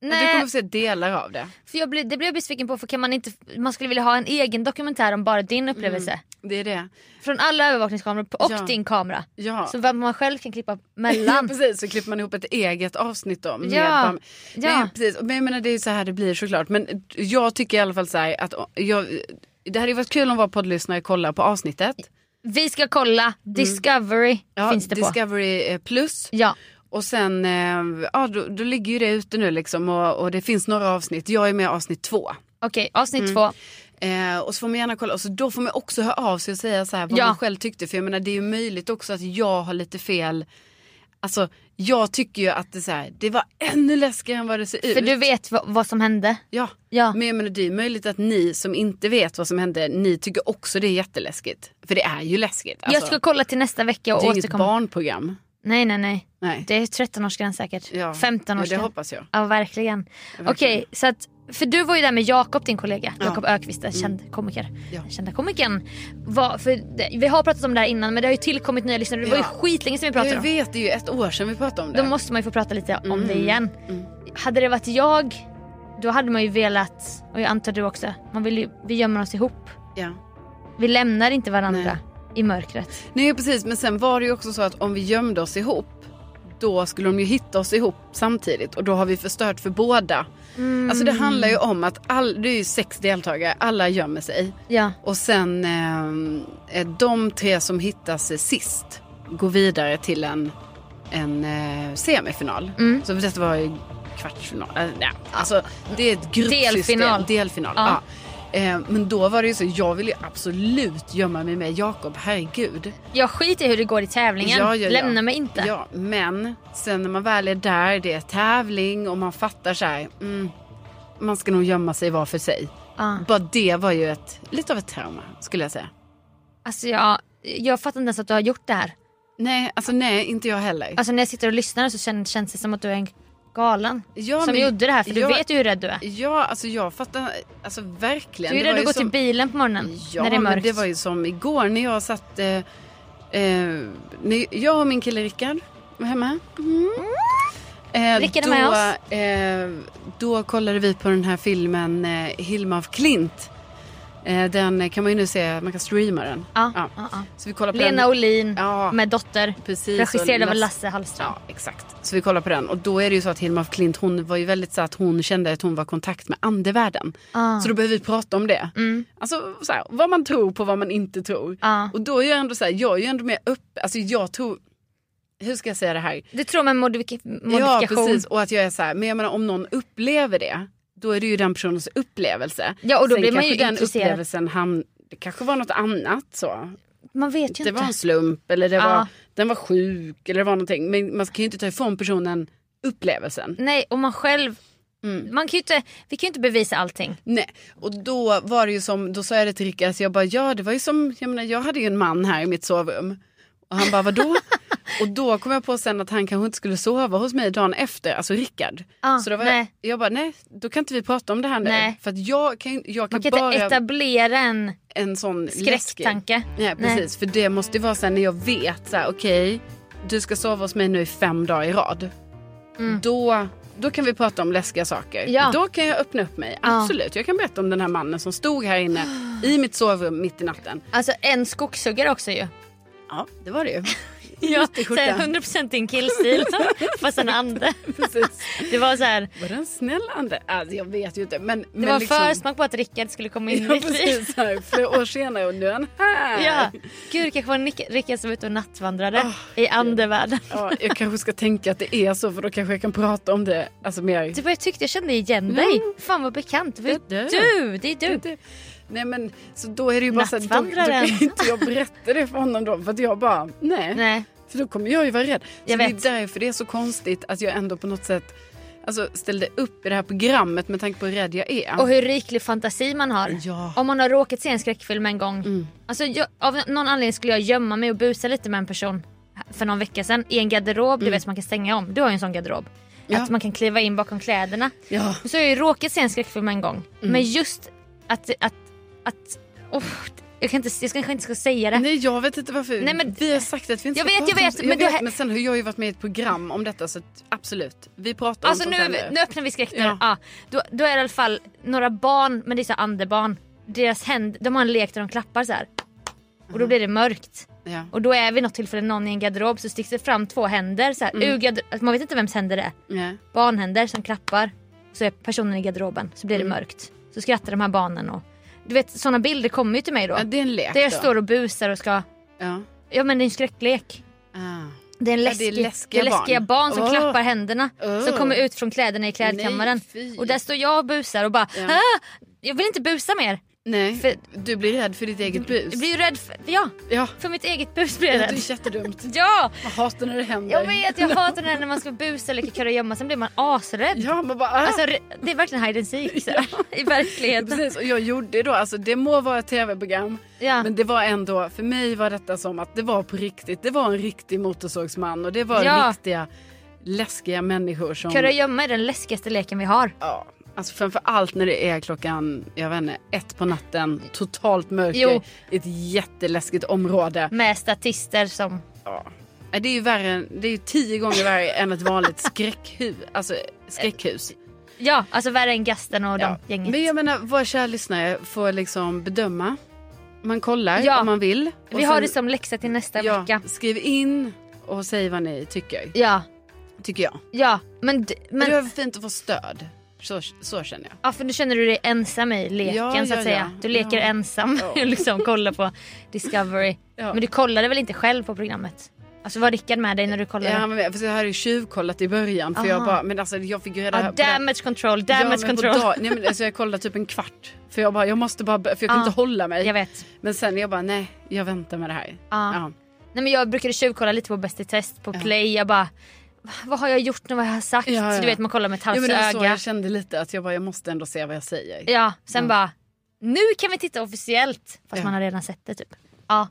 [SPEAKER 3] Du
[SPEAKER 2] Nej,
[SPEAKER 3] kommer få se delar av det.
[SPEAKER 2] för jag blev, det blev jag besviken på för kan man, inte, man skulle vilja ha en egen dokumentär om bara din upplevelse.
[SPEAKER 3] Mm, Det är det.
[SPEAKER 2] Från alla övervakningskameror på- och
[SPEAKER 3] Ja.
[SPEAKER 2] din kamera.
[SPEAKER 3] Ja.
[SPEAKER 2] Så vad man själv kan klippa
[SPEAKER 3] Ja,
[SPEAKER 2] mellan.
[SPEAKER 3] precis, så klipper man ihop ett eget avsnitt då. med
[SPEAKER 2] Ja,
[SPEAKER 3] Bam-
[SPEAKER 2] ja.
[SPEAKER 3] Nej, precis. Men jag menar det är ju så här det blir såklart. Men jag tycker i alla fall så här att å- jag, det hade ju varit kul om vår poddlyssnare kollar på avsnittet.
[SPEAKER 2] Vi ska kolla, Discovery
[SPEAKER 3] Mm. Ja,
[SPEAKER 2] finns det på.
[SPEAKER 3] Discovery eh, plus.
[SPEAKER 2] Ja.
[SPEAKER 3] Och sen, eh, ja då, då ligger ju det ute nu liksom och, och det finns några avsnitt. Jag är med i avsnitt två.
[SPEAKER 2] Okej, avsnitt
[SPEAKER 3] Mm.
[SPEAKER 2] två.
[SPEAKER 3] Eh, och så får man gärna kolla, och så då får man också höra av sig och säga så här vad
[SPEAKER 2] Ja.
[SPEAKER 3] man själv tyckte. För jag menar det är ju möjligt också att jag har lite fel. Alltså jag tycker ju att det, så här, det var ännu läskigare än vad det ser ut.
[SPEAKER 2] För du vet vad, vad som hände.
[SPEAKER 3] Ja.
[SPEAKER 2] Ja.
[SPEAKER 3] men jag menar det är ju möjligt att ni som inte vet vad som hände, ni tycker också det är jätteläskigt. För det är ju läskigt.
[SPEAKER 2] jag ska kolla till nästa vecka och
[SPEAKER 3] alltså- det är ju inget
[SPEAKER 2] återkomma.
[SPEAKER 3] barnprogram.
[SPEAKER 2] Nej, nej, nej.
[SPEAKER 3] Nej.
[SPEAKER 2] Det är 13-årsgräns säkert.
[SPEAKER 3] Ja.
[SPEAKER 2] 15-årsgräns.
[SPEAKER 3] Ja, det hoppas jag.
[SPEAKER 2] Ja, verkligen. Okej, så att... För du var ju där med Jakob, din kollega. Jakob Ökvist, en
[SPEAKER 3] Mm.
[SPEAKER 2] känd komiker. Den Kända komikern. Vad- för det, vi har pratat om det här innan men det har ju tillkommit nya lyssnare. Det var ju
[SPEAKER 3] Ja.
[SPEAKER 2] skitlänge sedan vi pratade
[SPEAKER 3] Jag
[SPEAKER 2] om det.
[SPEAKER 3] vet, det är ju ett år sedan vi pratade om det.
[SPEAKER 2] Då måste man ju få prata lite om
[SPEAKER 3] Mm.
[SPEAKER 2] det igen. Hade det varit jag, då hade man ju velat, och jag antar du också, man vill ju, vi gömmer oss ihop.
[SPEAKER 3] ja.
[SPEAKER 2] Vi lämnar inte varandra i mörkret.
[SPEAKER 3] Nej precis, men sen var det ju också så att om vi gömde oss ihop då skulle de ju hitta oss ihop samtidigt och då har vi förstört för båda. Alltså
[SPEAKER 2] Mm.
[SPEAKER 3] det handlar ju om att all, det är ju sex deltagare, alla gömmer sig.
[SPEAKER 2] Ja.
[SPEAKER 3] Och sen eh, de tre som hittas sist går vidare till en, en eh, semifinal.
[SPEAKER 2] Mm.
[SPEAKER 3] Så detta var ju kvartsfinal. Eh, nej, alltså det är ett gruppsystem.
[SPEAKER 2] Delfinal.
[SPEAKER 3] Delfinal.
[SPEAKER 2] Ja.
[SPEAKER 3] Ja. Eh, men då var det ju så, jag ville ju absolut gömma mig med Jakob, herregud.
[SPEAKER 2] Jag skiter i hur det går i tävlingen. Lämna mig inte.
[SPEAKER 3] Ja, men sen när man väl är där, det är tävling och man fattar så här, mm, man ska nog gömma sig var för sig.
[SPEAKER 2] Ja.
[SPEAKER 3] Bara det var ju ett, lite av ett trauma skulle jag säga.
[SPEAKER 2] Alltså jag, jag fattar inte ens att du har gjort det här.
[SPEAKER 3] Nej, alltså nej, inte jag heller.
[SPEAKER 2] Alltså när jag sitter och lyssnar så känns, känns det som att du är en galen.
[SPEAKER 3] Ja,
[SPEAKER 2] som
[SPEAKER 3] men-
[SPEAKER 2] gjorde det här för
[SPEAKER 3] ja.
[SPEAKER 2] du vet ju hur rädd du är.
[SPEAKER 3] Ja, alltså jag fattar, alltså verkligen.
[SPEAKER 2] Du är
[SPEAKER 3] Det var
[SPEAKER 2] rädd att
[SPEAKER 3] ju
[SPEAKER 2] gå
[SPEAKER 3] som-
[SPEAKER 2] till bilen på morgonen
[SPEAKER 3] Ja,
[SPEAKER 2] när det är
[SPEAKER 3] men
[SPEAKER 2] mörkt.
[SPEAKER 3] det var ju som igår när jag satt, eh, eh, när jag och min kille Rickard var hemma. Mm. Eh,
[SPEAKER 2] Rickard är
[SPEAKER 3] då,
[SPEAKER 2] med
[SPEAKER 3] Eh, då kollade vi på den här filmen eh, Hilma af Klint. Eh, den kan man ju nu se, man kan streama den.
[SPEAKER 2] Ja, ja, ja.
[SPEAKER 3] Så vi kollar på
[SPEAKER 2] Lena
[SPEAKER 3] den.
[SPEAKER 2] Olin
[SPEAKER 3] Ja.
[SPEAKER 2] med Dotter.
[SPEAKER 3] Precis,
[SPEAKER 2] regisserad
[SPEAKER 3] och
[SPEAKER 2] av
[SPEAKER 3] Lasse-
[SPEAKER 2] Lasse Hallström.
[SPEAKER 3] Ja, exakt. Så vi kollar på den. Och då är det ju så att Hilma af Klint, hon var ju väldigt så att hon kände att hon var i kontakt med andevärlden.
[SPEAKER 2] Ah.
[SPEAKER 3] Så då behöver vi prata om det.
[SPEAKER 2] Mm.
[SPEAKER 3] Alltså så här, vad man tror på vad man inte tror.
[SPEAKER 2] Ja.
[SPEAKER 3] Och då är jag ändå så här, jag är ju ändå mer upp, alltså jag tror, hur ska jag säga det här?
[SPEAKER 2] Du tror med modifika-
[SPEAKER 3] Ja
[SPEAKER 2] modifikation.
[SPEAKER 3] precis, och att jag är så här, men jag menar om någon upplever det, då är det ju den personens upplevelse.
[SPEAKER 2] Ja, och då
[SPEAKER 3] Sen
[SPEAKER 2] blir man
[SPEAKER 3] kanske
[SPEAKER 2] ju
[SPEAKER 3] den
[SPEAKER 2] intresserad.
[SPEAKER 3] upplevelsen hamn, det kanske var något annat så.
[SPEAKER 2] Man vet ju
[SPEAKER 3] Det
[SPEAKER 2] inte.
[SPEAKER 3] var en slump eller det
[SPEAKER 2] Ja.
[SPEAKER 3] var den var sjuk eller det var någonting. Men man kan ju inte ta ifrån personen upplevelsen.
[SPEAKER 2] Nej, och man själv...
[SPEAKER 3] Mm.
[SPEAKER 2] Man kan ju inte, vi kan ju inte bevisa allting.
[SPEAKER 3] Nej, och då var det ju som, då sa jag det till Rickard, så jag bara ja det var ju som, jag menar jag hade ju en man här i mitt sovrum. Och han bara vadå? och då kom jag på sen att han kanske inte skulle sova hos mig dagen efter, alltså Rickard.
[SPEAKER 2] Ah,
[SPEAKER 3] så då var
[SPEAKER 2] nej.
[SPEAKER 3] jag, jag bara nej, då kan inte vi prata om det här nu.
[SPEAKER 2] Nej.
[SPEAKER 3] För att jag kan, ju- jag
[SPEAKER 2] Man
[SPEAKER 3] kan,
[SPEAKER 2] kan
[SPEAKER 3] bara
[SPEAKER 2] inte etablera en
[SPEAKER 3] en sån läskig-
[SPEAKER 2] skräcktanke.
[SPEAKER 3] Nej precis, för det måste ju vara sen när jag vet så här, okej du ska sova hos mig nu i fem dagar i rad. Då, då kan vi prata om läskiga saker.
[SPEAKER 2] Mm. Ja.
[SPEAKER 3] Då kan jag öppna upp mig,
[SPEAKER 2] Ja.
[SPEAKER 3] absolut. Jag kan berätta om den här mannen som stod här inne i mitt sovrum mitt i natten.
[SPEAKER 2] Alltså en skogshuggare också ju.
[SPEAKER 3] Ja, det var det ju.
[SPEAKER 2] Ja,
[SPEAKER 3] Jätteskjorta.
[SPEAKER 2] 100% din killstil. fast en ande.
[SPEAKER 3] Precis.
[SPEAKER 2] Det var så här,
[SPEAKER 3] Var det en snäll ande? Alltså, jag vet ju inte. Men,
[SPEAKER 2] det
[SPEAKER 3] men
[SPEAKER 2] var
[SPEAKER 3] liksom,
[SPEAKER 2] försmak på att Rickard skulle komma in i
[SPEAKER 3] Ja,
[SPEAKER 2] ditt liv.
[SPEAKER 3] precis. Så här, flera år senare och nu är han här.
[SPEAKER 2] Ja. Gud, det kanske var Nick- Rickard som var ute och nattvandrade i andevärlden.
[SPEAKER 3] Ah, Ja, jag kanske ska tänka att det är så för då kanske jag kan prata om det alltså, mer.
[SPEAKER 2] Du bara, Typ jag tyckte jag kände igen dig. Fan vad bekant. Det var ju
[SPEAKER 3] Mm. Det är
[SPEAKER 2] du. Det är du.
[SPEAKER 3] inte. Nej men så då är det ju bara så här, då, då
[SPEAKER 2] Nattvandraren.
[SPEAKER 3] kan inte jag berätta det för honom då för att jag bara nej.
[SPEAKER 2] Nej.
[SPEAKER 3] För då kommer jag ju vara rädd. Så
[SPEAKER 2] Jag
[SPEAKER 3] det
[SPEAKER 2] vet.
[SPEAKER 3] är därför det är så konstigt att jag ändå på något sätt alltså, ställde upp i det här programmet med tanke på hur rädd jag är.
[SPEAKER 2] Och hur riklig fantasi man har.
[SPEAKER 3] Ja. Mm.
[SPEAKER 2] Om man har råkat se en skräckfilm en gång. Alltså, jag, av någon anledning skulle jag gömma mig och busa lite med en person för någon vecka sedan i en garderob du vet som man kan stänga om. Du har ju en sån garderob.
[SPEAKER 3] Mm. Ja.
[SPEAKER 2] Att man kan kliva in bakom kläderna.
[SPEAKER 3] Ja. Mm.
[SPEAKER 2] Och Så har jag ju råkat se en skräckfilm en gång. Men just att... att, att oh, jag, kan inte, jag kanske inte ska säga det.
[SPEAKER 3] Nej jag vet inte varför.
[SPEAKER 2] Nej, men-
[SPEAKER 3] vi har sagt att vi inte
[SPEAKER 2] Jag
[SPEAKER 3] ska
[SPEAKER 2] vet, jag
[SPEAKER 3] prata om
[SPEAKER 2] vet,
[SPEAKER 3] så-
[SPEAKER 2] men
[SPEAKER 3] jag
[SPEAKER 2] det
[SPEAKER 3] vet,
[SPEAKER 2] här-
[SPEAKER 3] men sen har jag ju varit med i ett program om detta så att, absolut. Vi pratar
[SPEAKER 2] Alltså
[SPEAKER 3] om
[SPEAKER 2] nu,
[SPEAKER 3] sånt här
[SPEAKER 2] nu öppnar vi skräckdörren. Ja.
[SPEAKER 3] Ja.
[SPEAKER 2] då, då är det i alla fall några barn, men det är så här andebarn. Deras händ, de har en lek där de klappar så här. Och då blir det mörkt.
[SPEAKER 3] Ja.
[SPEAKER 2] Och då är vid något tillfälle någon i en garderob så sticks det fram två händer. Så här, ur garder- alltså, man vet inte vems händer det är.
[SPEAKER 3] Nej.
[SPEAKER 2] Barnhänder som klappar. Så är personen i garderoben. Så blir det mörkt. Så skrattar de här barnen. Och, du vet sådana bilder kommer ju till mig då.
[SPEAKER 3] Ja, det är en lek
[SPEAKER 2] där jag
[SPEAKER 3] då.
[SPEAKER 2] står och busar och ska...
[SPEAKER 3] Ja.
[SPEAKER 2] Ja men det är en skräcklek.
[SPEAKER 3] Ah.
[SPEAKER 2] Det är, en
[SPEAKER 3] Ja, det
[SPEAKER 2] läskig,
[SPEAKER 3] är
[SPEAKER 2] det är
[SPEAKER 3] läskiga
[SPEAKER 2] läskiga, barn, som
[SPEAKER 3] Åh.
[SPEAKER 2] klappar händerna som
[SPEAKER 3] Åh.
[SPEAKER 2] kommer ut från kläderna i klädkammaren.
[SPEAKER 3] Nej, fy.
[SPEAKER 2] och där står jag och busar och bara
[SPEAKER 3] Ja.
[SPEAKER 2] ah, Jag vill inte busa mer.
[SPEAKER 3] Nej,
[SPEAKER 2] För-
[SPEAKER 3] du blir rädd för ditt eget bus.
[SPEAKER 2] Jag blir ju rädd för, ja,
[SPEAKER 3] Ja,
[SPEAKER 2] för mitt eget bus. Blir jag
[SPEAKER 3] det
[SPEAKER 2] rädd.
[SPEAKER 3] är jättedumt.
[SPEAKER 2] Ja,
[SPEAKER 3] Jag hatar när det händer.
[SPEAKER 2] jag vet. Jag hatar det här när man ska busa och leka kurragömma. Sen blir man asrädd.
[SPEAKER 3] Ja, man bara... Ah.
[SPEAKER 2] Alltså, re- det är verkligen hide and seek så här, i verkligheten.
[SPEAKER 3] Precis, och jag gjorde då, alltså det må vara ett tv-program,
[SPEAKER 2] Ja.
[SPEAKER 3] men det var ändå, för mig var detta som att det var på riktigt. Det var en riktig motorsågsman och det var
[SPEAKER 2] Ja.
[SPEAKER 3] riktiga läskiga människor som...
[SPEAKER 2] Kurragömma är den läskigaste leken vi har.
[SPEAKER 3] Ja, alltså framför allt när det är klockan, jag vet inte, ett på natten, totalt mörker
[SPEAKER 2] Jo.
[SPEAKER 3] i ett jätteläskigt område.
[SPEAKER 2] Med statister som...
[SPEAKER 3] Nej, Det är ju värre, än- det är ju tio gånger värre än ett vanligt skräckhus. Alltså skräckhus.
[SPEAKER 2] Ja, alltså värre än gasten och
[SPEAKER 3] Ja.
[SPEAKER 2] de gänget.
[SPEAKER 3] Men jag menar, våra kära lyssnare får liksom bedöma. Man kollar
[SPEAKER 2] Ja.
[SPEAKER 3] om man vill. Och
[SPEAKER 2] Vi har
[SPEAKER 3] sen-
[SPEAKER 2] det som läxa till nästa
[SPEAKER 3] ja,
[SPEAKER 2] vecka.
[SPEAKER 3] Skriv in och säg vad ni tycker.
[SPEAKER 2] Ja,
[SPEAKER 3] Tycker jag.
[SPEAKER 2] ja. Men, d- men
[SPEAKER 3] Men det är fint att få stöd. Så, så känner jag.
[SPEAKER 2] Ja för nu känner du dig ensam i leken
[SPEAKER 3] Ja,
[SPEAKER 2] så att
[SPEAKER 3] ja,
[SPEAKER 2] säga.
[SPEAKER 3] ja.
[SPEAKER 2] Du leker
[SPEAKER 3] Ja.
[SPEAKER 2] ensam och
[SPEAKER 3] Ja.
[SPEAKER 2] liksom kollar på Discovery.
[SPEAKER 3] Ja.
[SPEAKER 2] Men du kollade väl inte själv på programmet? Alltså var Rickard med dig när du kollade?
[SPEAKER 3] Ja, han var med, för jag hade ju tjuvkollat i början. För
[SPEAKER 2] Aha. Ah,
[SPEAKER 3] jag bara, men alltså jag fick ju reda
[SPEAKER 2] Ja,
[SPEAKER 3] på det här-
[SPEAKER 2] damage control,
[SPEAKER 3] Ja,
[SPEAKER 2] damage
[SPEAKER 3] men på
[SPEAKER 2] control.
[SPEAKER 3] dag- nej, men, alltså, jag kollade typ en kvart. För jag bara, jag måste bara, för jag kunde
[SPEAKER 2] Ja.
[SPEAKER 3] inte hålla mig.
[SPEAKER 2] Ah. Jag vet. Ah.
[SPEAKER 3] Men sen jag bara, nej jag väntar med det här.
[SPEAKER 2] Ja.
[SPEAKER 3] Ja.
[SPEAKER 2] Nej, men jag brukade tjuvkolla lite på Bäst i test på play. Jag bara, "Va- vad har jag gjort nu, vad har jag sagt?
[SPEAKER 3] Ja, ja.
[SPEAKER 2] Så du vet man kollar med ett
[SPEAKER 3] Ja,
[SPEAKER 2] halvt
[SPEAKER 3] men det var så
[SPEAKER 2] öga.
[SPEAKER 3] jag kände lite att jag bara, jag måste ändå se vad jag säger.
[SPEAKER 2] Ja, sen bara, nu kan vi titta officiellt. Fast
[SPEAKER 3] Ja.
[SPEAKER 2] man har redan sett det typ. Ja.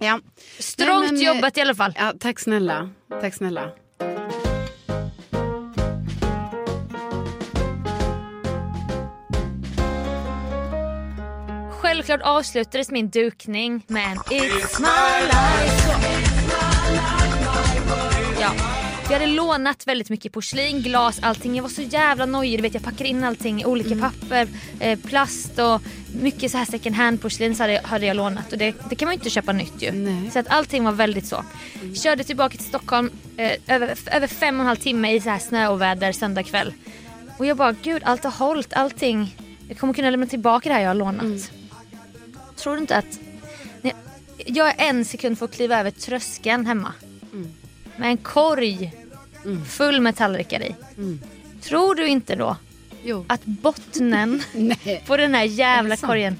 [SPEAKER 3] Ja.
[SPEAKER 2] Strångt
[SPEAKER 3] Nej, men, eh,
[SPEAKER 2] jobbat i alla fall.
[SPEAKER 3] Ja, tack snälla. Tack snälla.
[SPEAKER 2] Självklart avslutades min dukning med en It's my life Ja, jag hade lånat väldigt mycket porslin, glas, allting. Jag var så jävla nojig. Du vet, jag packade in allting i olika papper, eh, plast och mycket så här second hand porslin så hade, jag- hade jag lånat. Och det, det kan man ju inte köpa nytt ju.
[SPEAKER 3] Nej.
[SPEAKER 2] Så att allting var väldigt så. Körde tillbaka till Stockholm eh, över, över fem och en halv timme i så här snö och väder söndag kväll. Och jag bara, gud allt har hållit, allting. Jag kommer kunna lämna tillbaka det här jag har lånat. Tror du inte att... Nej, jag är en sekund för att kliva över tröskeln hemma.
[SPEAKER 3] Mm.
[SPEAKER 2] Med en korg full med tallrikar i. Tror du inte då
[SPEAKER 3] Mm. Jo.
[SPEAKER 2] att bottnen
[SPEAKER 3] Nej.
[SPEAKER 2] på den här
[SPEAKER 3] Är
[SPEAKER 2] jävla
[SPEAKER 3] det sant?
[SPEAKER 2] korgen,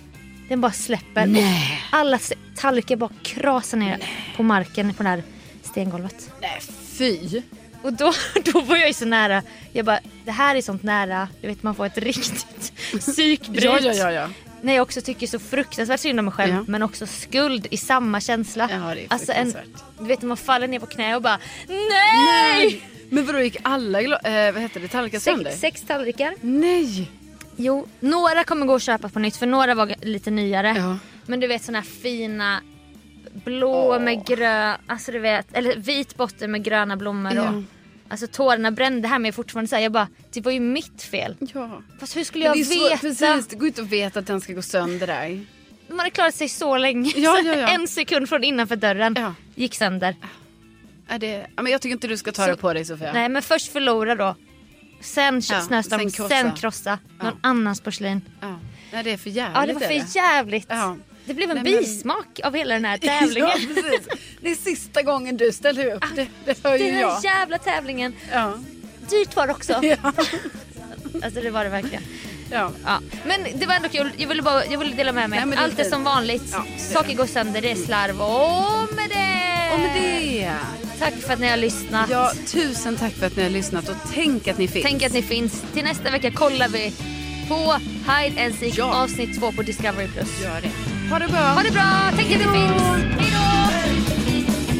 [SPEAKER 2] den bara släpper.
[SPEAKER 3] Nej.
[SPEAKER 2] Alla se- tallrikar bara krasar ner på marken på den här stengolvet.
[SPEAKER 3] Nej fy.
[SPEAKER 2] Och då, då var jag ju så nära. Jag bara, det här är sånt nära, du vet man får ett riktigt psykbryt.
[SPEAKER 3] Ja, ja, ja, ja.
[SPEAKER 2] När jag också tycker så fruktansvärt synd om mig själv
[SPEAKER 3] Ja.
[SPEAKER 2] men också skuld i samma känsla.
[SPEAKER 3] Ja, det är
[SPEAKER 2] alltså en,
[SPEAKER 3] fruktansvärt.
[SPEAKER 2] du vet när man faller ner på knä och bara NEJ!
[SPEAKER 3] Men vadå gick alla gla- eh, vad heter det, tallrikar sönder?
[SPEAKER 2] Sex, sex tallrikar.
[SPEAKER 3] Nej.
[SPEAKER 2] Jo, några kommer gå och köpa på nytt för några var lite nyare.
[SPEAKER 3] Ja.
[SPEAKER 2] Men du vet såna här fina blå med grön, alltså du vet, eller vit botten med gröna blommor
[SPEAKER 3] Ja.
[SPEAKER 2] och Alltså tårarna brände här men jag är fortfarande såhär, jag bara, det var ju mitt fel.
[SPEAKER 3] ja.
[SPEAKER 2] Fast hur skulle
[SPEAKER 3] Men
[SPEAKER 2] jag
[SPEAKER 3] det är svårt,
[SPEAKER 2] veta?
[SPEAKER 3] precis, det går inte att veta att den ska gå sönder där.
[SPEAKER 2] Man hade klarat sig så länge.
[SPEAKER 3] Ja, ja, ja.
[SPEAKER 2] en sekund från innanför dörren
[SPEAKER 3] Ja.
[SPEAKER 2] gick sönder.
[SPEAKER 3] Är det... ja, men jag tycker inte du ska ta
[SPEAKER 2] Så-
[SPEAKER 3] det på dig Sofia.
[SPEAKER 2] Nej men först förlora då. Sen
[SPEAKER 3] Ja,
[SPEAKER 2] snöstorm,
[SPEAKER 3] sen
[SPEAKER 2] sen
[SPEAKER 3] krossa.
[SPEAKER 2] krossa, någon annans porslin.
[SPEAKER 3] Ja. Nej det är för jävligt.
[SPEAKER 2] Ja det var
[SPEAKER 3] är
[SPEAKER 2] för jävligt.
[SPEAKER 3] Ja.
[SPEAKER 2] Det blev en
[SPEAKER 3] Nej, men-
[SPEAKER 2] bismak av hela den här tävlingen.
[SPEAKER 3] Ja, precis. Det är sista gången du ställer upp. Det, det hör ju
[SPEAKER 2] Den här
[SPEAKER 3] jag.
[SPEAKER 2] Ah, jävla tävlingen.
[SPEAKER 3] Ja.
[SPEAKER 2] Dyrt var det också.
[SPEAKER 3] Ja.
[SPEAKER 2] Alltså det var det verkligen.
[SPEAKER 3] Ja.
[SPEAKER 2] Ja. Men det var ändå kul. Jag ville, bara, jag ville dela med mig.
[SPEAKER 3] Nej, men det är
[SPEAKER 2] Allt är
[SPEAKER 3] fint.
[SPEAKER 2] som vanligt.
[SPEAKER 3] Ja, det är
[SPEAKER 2] Saker går sönder, det är slarv. Och med det!
[SPEAKER 3] Och med det.
[SPEAKER 2] Tack för att ni har lyssnat.
[SPEAKER 3] Ja, tusen tack för att ni har lyssnat och tänk att ni finns.
[SPEAKER 2] Tänk att ni finns. Till nästa vecka kollar vi på Hide and Seek
[SPEAKER 3] Ja.
[SPEAKER 2] avsnitt 2 på Discovery+. Plus.
[SPEAKER 3] Gör det. Ha det bra.
[SPEAKER 2] Ha det bra! Tänk att ni finns! Hej då!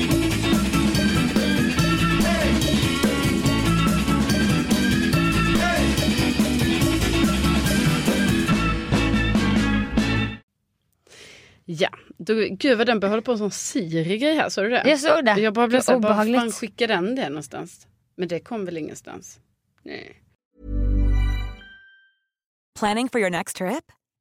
[SPEAKER 3] Ja, då, gud vad den börjar hålla på en sån Siri-grej här, såg du det?
[SPEAKER 2] Jag såg det.
[SPEAKER 3] Jag bara blev
[SPEAKER 2] Det var
[SPEAKER 3] såhär, var
[SPEAKER 2] obehagligt.
[SPEAKER 3] fan skickar den det någonstans? Men det kom väl ingenstans? Nej.
[SPEAKER 5] Planning for your next trip?